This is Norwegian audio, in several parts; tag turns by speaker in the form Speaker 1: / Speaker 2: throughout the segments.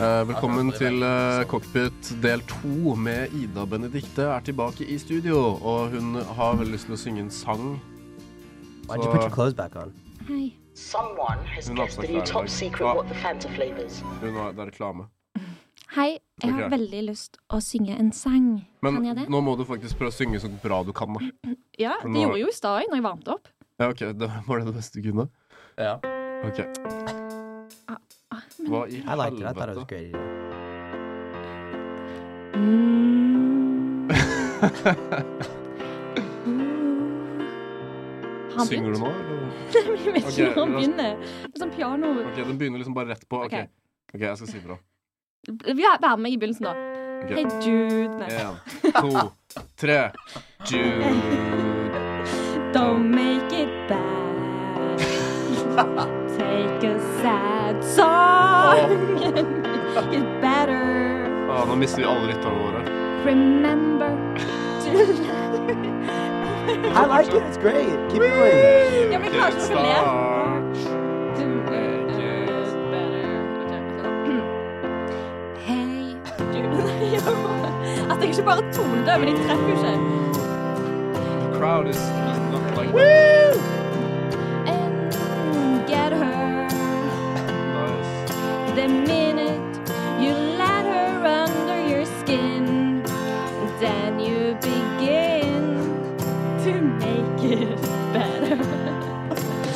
Speaker 1: Eh, Velkommen til eh, Cockpit del to med Ida Benedicte er tilbake i studio. Og hun har veldig lyst til å synge en sang.
Speaker 2: Why'd you put your clothes back on?
Speaker 3: Hei.
Speaker 4: Someone has
Speaker 1: You're not
Speaker 4: guessed the
Speaker 1: supposed
Speaker 4: new
Speaker 1: to
Speaker 4: top
Speaker 1: like-
Speaker 4: secret
Speaker 1: Well-
Speaker 4: what the Fanta flavors.
Speaker 1: Hun har, det er reklame.
Speaker 3: Hei, jeg har
Speaker 1: Ok.
Speaker 3: veldig lyst å synge en sang.
Speaker 1: Men
Speaker 3: kan jeg det?
Speaker 1: nå må du faktisk prøve å synge så bra du kan. da.
Speaker 5: Ja,
Speaker 1: Nå-
Speaker 5: det gjorde jeg jo i stad når jeg varmte opp.
Speaker 1: Ja, ok, Det var det det beste du kunne?
Speaker 6: Ja.
Speaker 1: Ok. Hva i
Speaker 2: I liked it. I thought it was a
Speaker 1: helvete?
Speaker 2: great idea.
Speaker 5: Har han
Speaker 1: Synger du
Speaker 5: begynt?
Speaker 1: nå? Eller?
Speaker 5: Jeg vet ikke
Speaker 1: Ok,
Speaker 5: når han
Speaker 1: la oss-
Speaker 5: begynner. Det er sånn piano
Speaker 1: Ok, Den begynner liksom bare rett på. Ok,
Speaker 5: Ok.
Speaker 1: Ok, jeg skal si fra.
Speaker 5: Ja, Vær med meg i begynnelsen, da.
Speaker 1: Ok.
Speaker 5: Hey, dude. Nei.
Speaker 1: Én, to, tre. Jude.
Speaker 5: Don't make it bad. Take a sad song and make it better.
Speaker 1: Ah, nå mister vi alle rytterne våre.
Speaker 5: Remember to
Speaker 2: I liked it. It's great. Keep going.
Speaker 5: Ja, men jeg klarer ikke å le.
Speaker 1: Kickstart.
Speaker 5: To
Speaker 1: make it
Speaker 5: Hei At jeg ikke bare toner, men jeg treffer jo ikke.
Speaker 1: The crowd is heating up like
Speaker 5: And get her
Speaker 1: Nice.
Speaker 5: the minute you let her under your skin. Then you begin to make it better.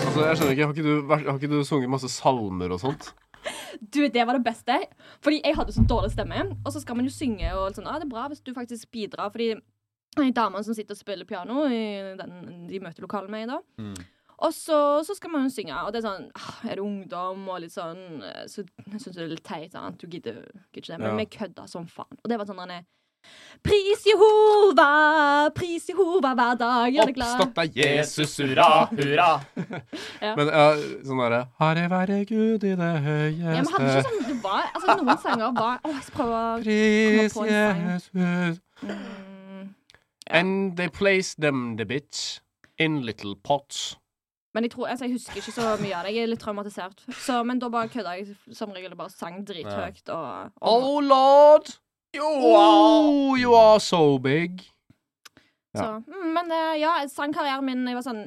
Speaker 1: Altså, jeg skjønner ikke, har ikke, du, vært- har ikke du sunget masse salmer og sånt?
Speaker 5: Du, det var det beste. Fordi jeg hadde så dårlig stemme. Og så skal man jo synge, og sånn, ah, det er bra hvis du faktisk bidrar. Fordi de damene som sitter og spiller piano i den, de møtelokalene med i dag.
Speaker 1: Mm.
Speaker 5: Og så, så skal man jo synge, og det er sånn ah, Er det ungdom og litt sånn eh, Så jeg syns det er litt teit. Sant? Du gidder gidder ikke det. Men
Speaker 1: Ja.
Speaker 5: vi kødda som faen. Og det var sånn han er Pris Jehova, pris Jehova hver dag. Gjør deg glad.
Speaker 1: Oppstått er Jesus.
Speaker 6: Jesus, hurra, hurra.
Speaker 1: Men ja, sånn derre Herre være Gud i det
Speaker 5: Ja, men hadde
Speaker 1: høyeste.
Speaker 5: ikke sånn det var, altså Noen sanger var Å, jeg prøver
Speaker 1: Pris
Speaker 5: Kom på en
Speaker 1: Jesus.
Speaker 5: Mm.
Speaker 1: And they placed them, the bitch, in little pots.
Speaker 5: Men jeg, tror, altså, jeg husker ikke så mye av det. Jeg er litt traumatisert. Så, men da bare kødda jeg som regel og bare sang drithøyt. Og, og,
Speaker 1: Oh, lord! You are, you are so big. ja.
Speaker 5: så, mm, men eh, ja, sangkarrieren min jeg var sånn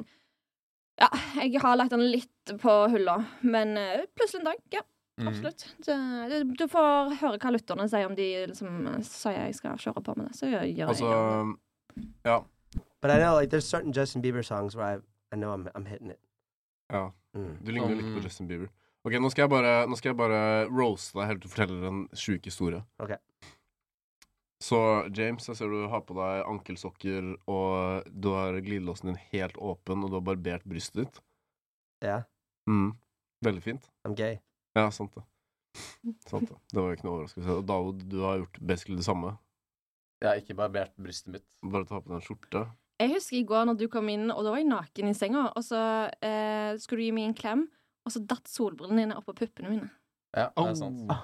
Speaker 5: Ja, jeg har lagt den litt på hylla, men eh, plutselig en dag. Ja, absolutt. Det, det, du får høre hva lytterne sier om de liksom, eh, sier jeg skal kjøre på med det. Så gjør gjør jeg
Speaker 1: Altså
Speaker 5: det.
Speaker 1: Ja.
Speaker 2: But I know, like, there's certain Justin Bieber songs where I, I know I'm, I'm hitting it.
Speaker 1: Ja.
Speaker 2: Mm.
Speaker 1: Du ligner jo litt
Speaker 6: Som-
Speaker 1: på Justin Bieber. Ok, Nå skal jeg bare, nå skal jeg bare roaste deg helt til du forteller en sjuk historie.
Speaker 2: Ok.
Speaker 1: Så James, jeg ser du har på deg ankelsokker, og du har glidelåsen din helt åpen, og du har barbert brystet ditt.
Speaker 2: Yeah,
Speaker 1: Mm. Veldig fint.
Speaker 2: I'm gay.
Speaker 1: Ja, sant det. Sant det. Det var jo ikke noe overraskelse. Og David, du har gjort basically det samme.
Speaker 6: Jeg har ikke barbert brystet mitt.
Speaker 1: Bare ta på deg en skjorte.
Speaker 5: Jeg husker i går når du kom inn, og da var jeg naken i senga, og så eh, skulle du gi meg en klem, og så datt solbrillene dine opp på puppene mine.
Speaker 6: Ja, det
Speaker 1: Au.
Speaker 6: er sant.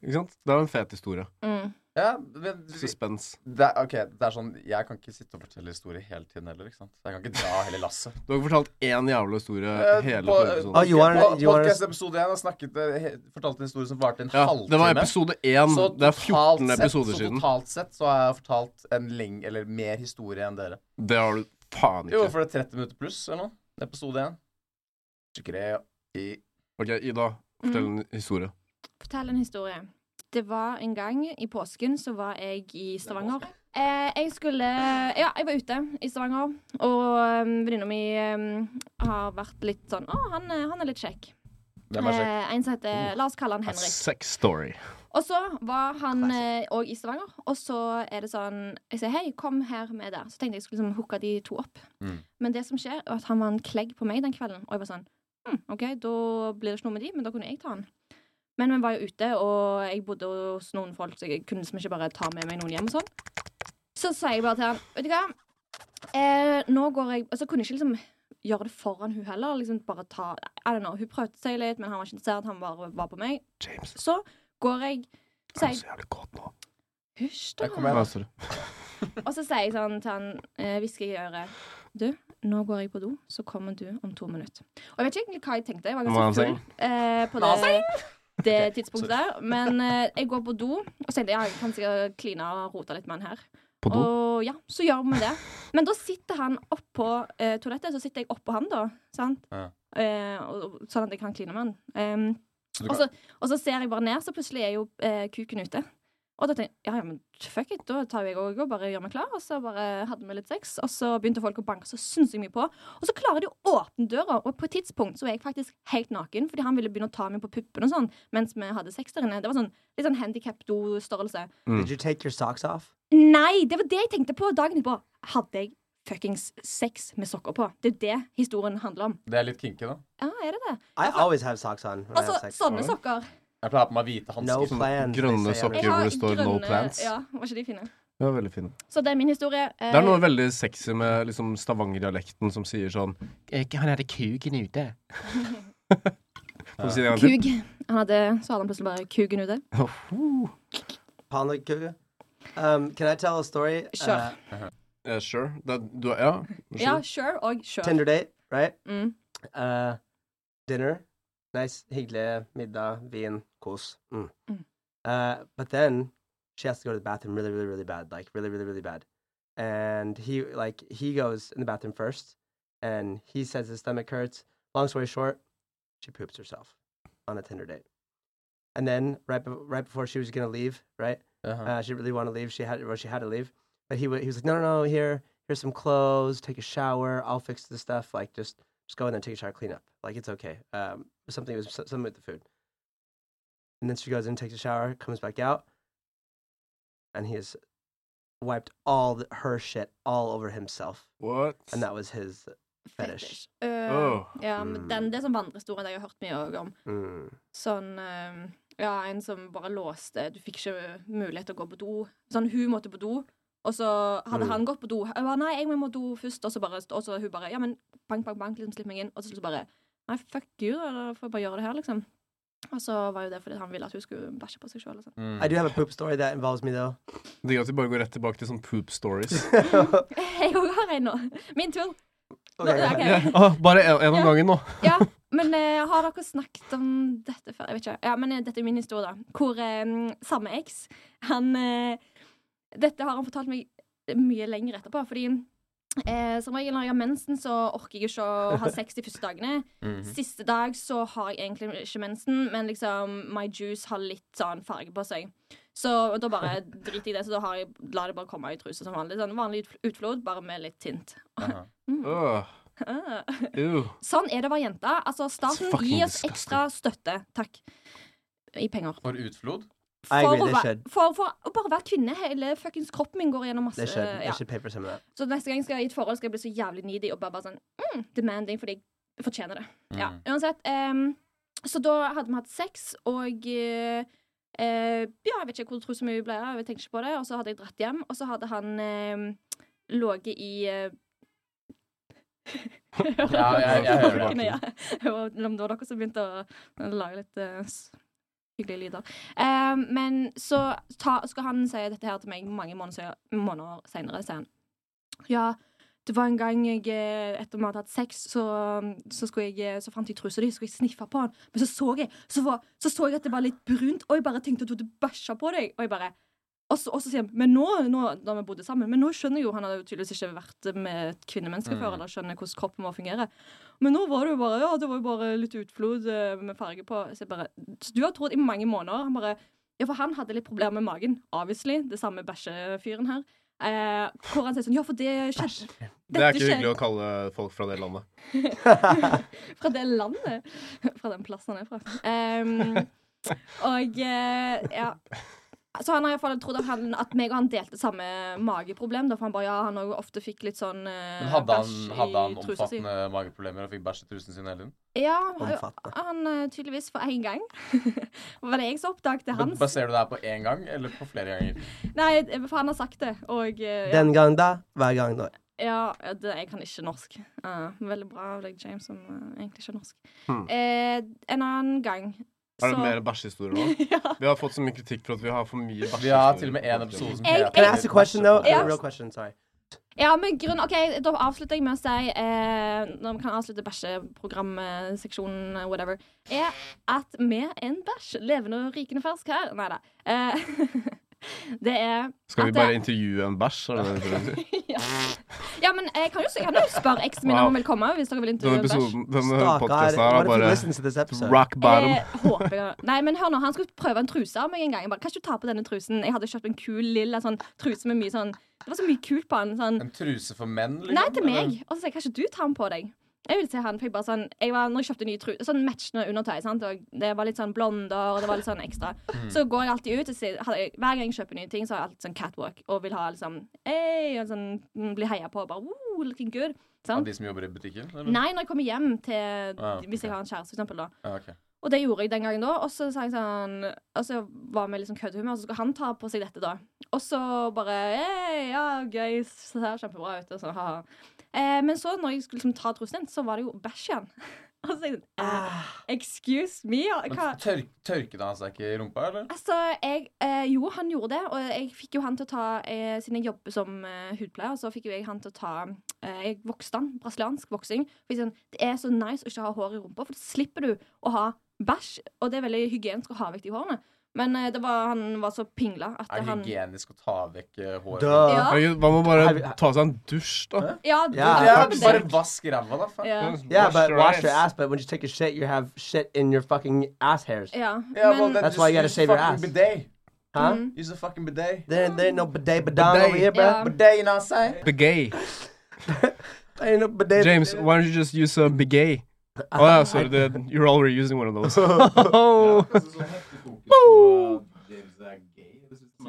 Speaker 1: Ikke sant? Det er en fet historie.
Speaker 5: Mm.
Speaker 6: Ja, men
Speaker 1: Suspens.
Speaker 6: det er, ok, det er sånn, Jeg kan ikke sitte og fortelle historier hele tiden heller. ikke sant? Jeg kan ikke dra hele lasset.
Speaker 1: Du har ikke fortalt én jævla historie
Speaker 6: Eh,
Speaker 1: hele
Speaker 6: på-
Speaker 1: forrige
Speaker 2: Oh,
Speaker 1: episode.
Speaker 2: you want
Speaker 6: På
Speaker 2: to? You want to?
Speaker 6: podcast-episode 1 jeg snakket, eh, he- fortalte en historie som varte en
Speaker 1: Ja,
Speaker 6: halvtime.
Speaker 1: det var episode én.
Speaker 6: Så
Speaker 1: Det er
Speaker 6: totalt
Speaker 1: 14
Speaker 6: sett-
Speaker 1: episoder
Speaker 6: så
Speaker 1: siden.
Speaker 6: totalt sett så har jeg fortalt en leng, eller mer historie enn dere.
Speaker 1: Det har du faen
Speaker 6: Jo,
Speaker 1: ikke.
Speaker 6: for det er 30 minutter pluss eller noe. Episode 1. Skikkelig i-
Speaker 1: Ok, Ida, fortell en historie.
Speaker 5: Mm. Fortell en historie. Det var en gang i påsken, så var jeg i Stavanger. Eh, jeg skulle Ja, jeg var ute i Stavanger, og um, venninna mi um, har vært litt sånn Å, han, eh, han er litt kjekk.
Speaker 6: Hvem er sjekk?
Speaker 5: Eh, en som heter La oss kalle han
Speaker 1: A
Speaker 5: Henrik.
Speaker 1: sex story.
Speaker 5: Og så var han òg i Stavanger, og så er det sånn Jeg sier hei, kom her med der. Så tenkte jeg skulle liksom hooke de to opp.
Speaker 6: Mm.
Speaker 5: Men det som skjer, er at han var en klegg på meg den kvelden. Og jeg var sånn hm, OK, da blir det ikke noe med de, men da kunne jeg ta han. Men vi var jo ute, og jeg bodde hos noen folk, så jeg kunne liksom ikke bare ta med meg noen hjem og sånn. Så sa jeg bare til han, vet du hva eh, Nå går jeg Og så kunne jeg ikke liksom gjøre det foran hun heller. Liksom bare ta I don't know. Hun prøvde seg litt, men han var ikke interessert. Han bare var på meg.
Speaker 1: James,
Speaker 5: Så går jeg
Speaker 1: er du
Speaker 5: sier
Speaker 1: så jævlig kåt nå?
Speaker 5: Hysj,
Speaker 6: Jeg kommer
Speaker 5: da.
Speaker 6: her.
Speaker 1: Nei, sorry.
Speaker 5: Og så sier jeg sånn til han, eh, hvisker jeg i øret Du, nå går jeg på do, så kommer du om to minutter. Og jeg vet ikke egentlig hva jeg tenkte. Jeg var
Speaker 1: Hva han
Speaker 5: ganske full eh, på det. det tidspunktet der. Men eh, jeg går på do og så tenkte jeg, ja, jeg kan sikkert kline og rote litt med han her.
Speaker 1: På do?
Speaker 5: Og ja, så gjør vi det. Men da sitter han oppå eh, toalettet, så sitter jeg oppå han, da. Sant?
Speaker 6: Ja.
Speaker 5: Eh, og, og, sånn at jeg kan kline med han. Em,
Speaker 6: Så du
Speaker 5: og,
Speaker 6: kan,
Speaker 5: så, og så ser jeg bare ned, så plutselig er jo eh, kuken ute. Og da tenkte jeg ja, ja, men fuck it, da tar jeg og går, bare gjør meg klar. Og så bare hadde vi litt sex, og så begynte folk å banke så sinnssykt mye på. Og så klarer de å åpne døra, og på et tidspunkt så er jeg faktisk helt naken, fordi han ville begynne å ta meg på puppen og sånn mens vi hadde sex der inne. Det var sånn litt sånn handikap-do-størrelse.
Speaker 1: Mm.
Speaker 2: Did you take your socks off?
Speaker 5: Nei, det var det jeg tenkte på dagen etterpå. Hadde jeg fuckings sex med sokker på? Det er jo det historien handler om.
Speaker 2: Eh.
Speaker 6: det er litt kinky, da.
Speaker 5: Ja, er det det?
Speaker 2: I always have socks on when I have
Speaker 5: Altså,
Speaker 2: sex.
Speaker 5: sånne sokker.
Speaker 6: Jeg pleier å ha på meg hvite
Speaker 2: No
Speaker 6: hansker.
Speaker 2: plans. they
Speaker 1: grønne
Speaker 2: say on
Speaker 1: sokker.
Speaker 2: it.
Speaker 5: Jeg har
Speaker 1: hvor det står
Speaker 5: grønne
Speaker 1: 'no plants'.
Speaker 5: Ja, var ikke de fine?
Speaker 1: Det var veldig fint.
Speaker 5: Så det er min historie. Eh,
Speaker 1: Det er noe veldig sexy med liksom, stavangerdialekten som sier sånn Ikke han hadde kuken ute. Kan du si det en gang til?
Speaker 5: Eh, Kug. Han hadde, så hadde han plutselig bare kugen ute.
Speaker 1: Hoho.
Speaker 2: Panda cougar. Um, can I tell a story?
Speaker 5: Sure.
Speaker 2: Uh,
Speaker 1: Eh, sure. Det, er- du, er- ja.
Speaker 5: Ja,
Speaker 1: Sure.
Speaker 5: sure og sure.
Speaker 2: Tinder date, right?
Speaker 5: Mm.
Speaker 2: Uh, dinner. Nice, hyggelig middag, vin, kos. Mm.
Speaker 5: Mm.
Speaker 2: Uh, but then she has to go to the bathroom really, really, really bad. Like, really, really, really bad. And he, like, he goes in the bathroom first and he says his stomach hurts. Long story short, she poops herself on a Tinder date. And then right, bef- right before she was going to leave, right?
Speaker 6: Jaha.
Speaker 2: Uh, she really wanted to leave. She had, well, she had to leave. But he, wa he was like, no, no, no. Here, here's some clothes. Take a shower. I'll fix the stuff. Like, just, just go in there, take a shower, clean up. Like, it's okay. Um, something was so- something with the food. And then she goes in, takes a shower, comes back out, and he has wiped all the, her shit all over himself.
Speaker 1: What?
Speaker 2: And that was his fetish.
Speaker 5: Eh,
Speaker 1: Åh.
Speaker 5: ja,
Speaker 1: Mm.
Speaker 5: men den, det er sånn vandrehistorie jeg har hørt mye også om.
Speaker 2: Mm.
Speaker 5: Sånn eh, Ja, en som bare låste Du fikk ikke mulighet til å gå på do. Sånn, hun måtte på do, og så hadde
Speaker 2: Mm.
Speaker 5: han gått på do. Jeg bare, nei, jeg må på do først, og så bare Og så hun bare Ja, men bank, bank, bank, liksom, slipp meg inn. Og så, så bare Nei, fuck you, da får jeg bare gjøre det her, liksom. Og så var jo det fordi han ville at hun skulle bæsje på seg sjøl. Liksom.
Speaker 6: Mm.
Speaker 2: I do have a poop story that involves me, though.
Speaker 1: Digg at vi bare går rett tilbake til sånn poop stories.
Speaker 5: Jeg òg har en nå. Min tur.
Speaker 2: Okay,
Speaker 5: Nå- ok.
Speaker 1: Ja, ah, bare en, en om gangen nå.
Speaker 5: Ja, men eh, har dere snakket om dette før? Jeg vet ikke. Ja, men eh, dette er min historie, da. Hvor eh, samme eks Han eh, Dette har han fortalt meg mye lenger etterpå, fordi eh, som regel når jeg har mensen, så orker jeg ikke å ha sex de første dagene.
Speaker 6: Mhm.
Speaker 5: Siste dag så har jeg egentlig ikke mensen, men liksom my juice har litt sånn farge på seg. Så da bare driter jeg i det, så da har jeg, lar jeg bare komme i truse som vanlig. Sånn vanlig utfl- utflod, bare med litt tint. Mm.
Speaker 6: Jaha.
Speaker 1: Øh,
Speaker 5: Ah.
Speaker 1: ew.
Speaker 5: Sånn er det å være jente. Altså, staten
Speaker 1: It's fucking
Speaker 5: gir oss
Speaker 1: disgusting.
Speaker 5: ekstra støtte. Takk. I penger.
Speaker 6: For utflod?
Speaker 2: I
Speaker 5: For,
Speaker 2: agree,
Speaker 5: å,
Speaker 2: they
Speaker 5: væ-
Speaker 2: should.
Speaker 5: for, for å bare være kvinne. Hele fuckings kroppen min går gjennom masse
Speaker 2: They should. They
Speaker 5: ja.
Speaker 2: should pay for some of that.
Speaker 5: Så neste gang jeg skal i et forhold, skal jeg bli så jævlig needy og bare, bare sånn mm, demanding fordi jeg fortjener det. Ja,
Speaker 6: Mm.
Speaker 5: uansett. em, så da hadde vi hatt sex, og eh, eh, Ja, jeg vet ikke hvor truse mye ble av, jeg tenkte ikke på det. Og så hadde jeg dratt hjem, og så hadde han um, ligget i eh,
Speaker 6: Ja, jeg, jeg hører det.
Speaker 5: Folkene, ja. Og om det var dere som begynte å lage litt eh, s- hyggelige lyder. Eh, men så ta, skal han si dette her til meg mange måneder, se- måneder senere, sier han. Ja, det var en gang jeg, eh, etter vi hadde hatt sex, så, så, skulle jeg, eh, så fant jeg trusa di, så skulle jeg sniffe på den. Men så så jeg så, var, så så jeg at det var litt brunt, og jeg bare tenkte at du hadde bæsja på deg. Og jeg bare og så, og så sier han Men nå, nå da vi bodde sammen Men nå skjønner jeg jo Han hadde jo tydeligvis ikke vært med et kvinnemenneske før,
Speaker 6: Mm.
Speaker 5: eller skjønner hvordan kroppen vår fungerer. Men nå var det jo bare Ja, det var jo bare litt utflod eh, med farge på. Så jeg bare Så du har trodd i mange måneder Han bare Ja, for han hadde litt problemer med magen. Obviously. Det samme bæsjefyren her. Eh, hvor han sier sånn Ja, for det skjedde
Speaker 1: Det er
Speaker 5: Dette
Speaker 1: ikke
Speaker 5: skjer-
Speaker 1: hyggelig å kalle folk fra det landet.
Speaker 5: fra det landet. Fra den plassen han er fra. Ehm, og eh, ja. Så han har iallfall trodd at, han, at meg og han delte samme mageproblem. Da, for han bare, ja, han også ofte fikk litt sånn eh,
Speaker 6: Men hadde han,
Speaker 5: bæsj i
Speaker 6: hadde han
Speaker 5: trusa si.
Speaker 6: omfattende mageproblemer og fikk bæsj i trusen sin hele tiden?
Speaker 5: Ja,
Speaker 2: Omfattende.
Speaker 5: han eh, tydeligvis for én gang. var det jeg som oppdaget
Speaker 6: Men
Speaker 5: hans?
Speaker 6: Baserer du det her på én gang eller på flere ganger?
Speaker 5: Nei, for han har sagt det. Og eh, ja,
Speaker 2: Den gang da, hver gang da.
Speaker 5: ja det, jeg kan ikke norsk. Eh, veldig bra av deg, James, som eh, egentlig ikke er norsk.
Speaker 1: Hmm.
Speaker 5: Eh, en annen gang
Speaker 1: Er det mer bæsjehistorier nå?
Speaker 5: Ja.
Speaker 1: Vi har fått så mye kritikk for at vi har for mye bæsjehistorier.
Speaker 6: Vi har til og med en episode som
Speaker 5: Jeg-
Speaker 6: heter
Speaker 2: Can I ask a question though?
Speaker 5: Yeah.
Speaker 2: A real question, sorry.
Speaker 5: Ja, men grunn, ok, Da avslutter jeg med å si, eh, når vi kan avslutte bæsjeprogramseksjonen, eh, whatever, er at med en bæsj, levende og rikende fersk her Nei da. Eh, det er
Speaker 1: Skal vi
Speaker 5: At det-
Speaker 1: bare intervjue en bæsj? Er det det du prøver å si?
Speaker 5: ja. ja, men jeg kan jo, jeg kan jo spørre eksen min
Speaker 1: Wow.
Speaker 5: om han vil komme, hvis dere vil
Speaker 1: Denne
Speaker 5: intervjue en bæsj.
Speaker 1: episoden, denne
Speaker 2: Stockard,
Speaker 1: podcasten her
Speaker 2: what
Speaker 1: er
Speaker 2: if you
Speaker 1: bare
Speaker 2: listen to this episode?
Speaker 1: rock bottom.
Speaker 5: Eh, håper jeg Nei, men hør nå, Han skulle prøve en truse av meg en gang. Jeg bare, Kan ikke du ta på denne trusen? Jeg hadde kjøpt en kul lilla sånn truse med mye sånn Det var så mye kult på den. Sånn
Speaker 6: En truse for menn, liksom?
Speaker 5: Nei, til
Speaker 6: eller?
Speaker 5: meg. Og så sa jeg, kan ikke du ta den på deg? Jeg ville se han, for jeg bare sånn jeg var, Når jeg kjøpte ny tru, sånn matchende undertøy, sant? og det var litt sånn blonder, og det var litt sånn ekstra,
Speaker 6: Mm.
Speaker 5: så går jeg alltid ut og sier hadde jeg- Hver gang jeg kjøper nye ting, så har jeg alltid sånn catwalk og vil ha liksom Ei! Og sånn mm, bli heia på og bare Wow, looking good.
Speaker 6: Av
Speaker 5: Sant?
Speaker 6: de som jobber i butikken? Eller?
Speaker 5: Nei, når jeg kommer hjem til
Speaker 6: Ah,
Speaker 5: Hvis jeg
Speaker 6: ok.
Speaker 5: har en kjæreste, for eksempel, da.
Speaker 6: Ja, ok.
Speaker 5: Og det gjorde jeg den gangen da. Og så sa jeg sånn Og så var vi liksom køddehumør, og så skulle han ta på seg dette, da. Og så bare «Hey, Ja, gøy. Så det ser kjempebra ut. Og så, ha, ha. Eh, men så, når jeg skulle liksom ta trusen, så var det jo bæsj igjen. og så tenkte jeg eh, Excuse me? og
Speaker 6: Men
Speaker 5: Hva?
Speaker 6: tørk, tørket han seg ikke i rumpa, eller?
Speaker 5: Altså, jeg, eh, jo, han gjorde det, og jeg fikk jo han til å ta eh, Siden jeg jobber som eh, hudpleier, så fikk jo jeg han til å ta eh, Jeg vokste han, brasiliansk voksing. For jeg sa sånn, det er så nice å ikke ha hår i rumpa, for da slipper du å ha bæsj. Og det er veldig hygienisk å ha vekk de hårene. Men eh, det var, han var så pingla at
Speaker 6: Er det
Speaker 5: han
Speaker 6: hygienisk å ta vekk eh, håret?
Speaker 2: Duh.
Speaker 5: Ja.
Speaker 1: Herregud, Hva med
Speaker 2: Har
Speaker 1: bare
Speaker 2: vi-
Speaker 1: ta seg en dusj, da?
Speaker 5: Ja, du,
Speaker 2: Ja,
Speaker 6: Ja,
Speaker 5: det-
Speaker 2: absolutt.
Speaker 6: bare vask ræva, da. Faen.
Speaker 5: ja.
Speaker 2: Yeah, but wash your ass. But when you take a shit, you have shit in your fucking ass hairs.
Speaker 5: Ja,
Speaker 6: Yeah, well,
Speaker 5: men
Speaker 6: then
Speaker 2: That's
Speaker 6: just
Speaker 2: why you gotta
Speaker 6: use
Speaker 2: shave your
Speaker 6: fucking
Speaker 2: ass.
Speaker 6: Bidet.
Speaker 2: Huh?
Speaker 5: Mm.
Speaker 6: Use a fucking bidet.
Speaker 2: There, there ain't no bidet badon over here, bro.
Speaker 5: Ja.
Speaker 6: Bidet, you know what I'm saying?
Speaker 1: Begay.
Speaker 2: There ain't no bidet.
Speaker 1: James, why don't you just use a begay? Å ja, sorry, det, you're already using one of those.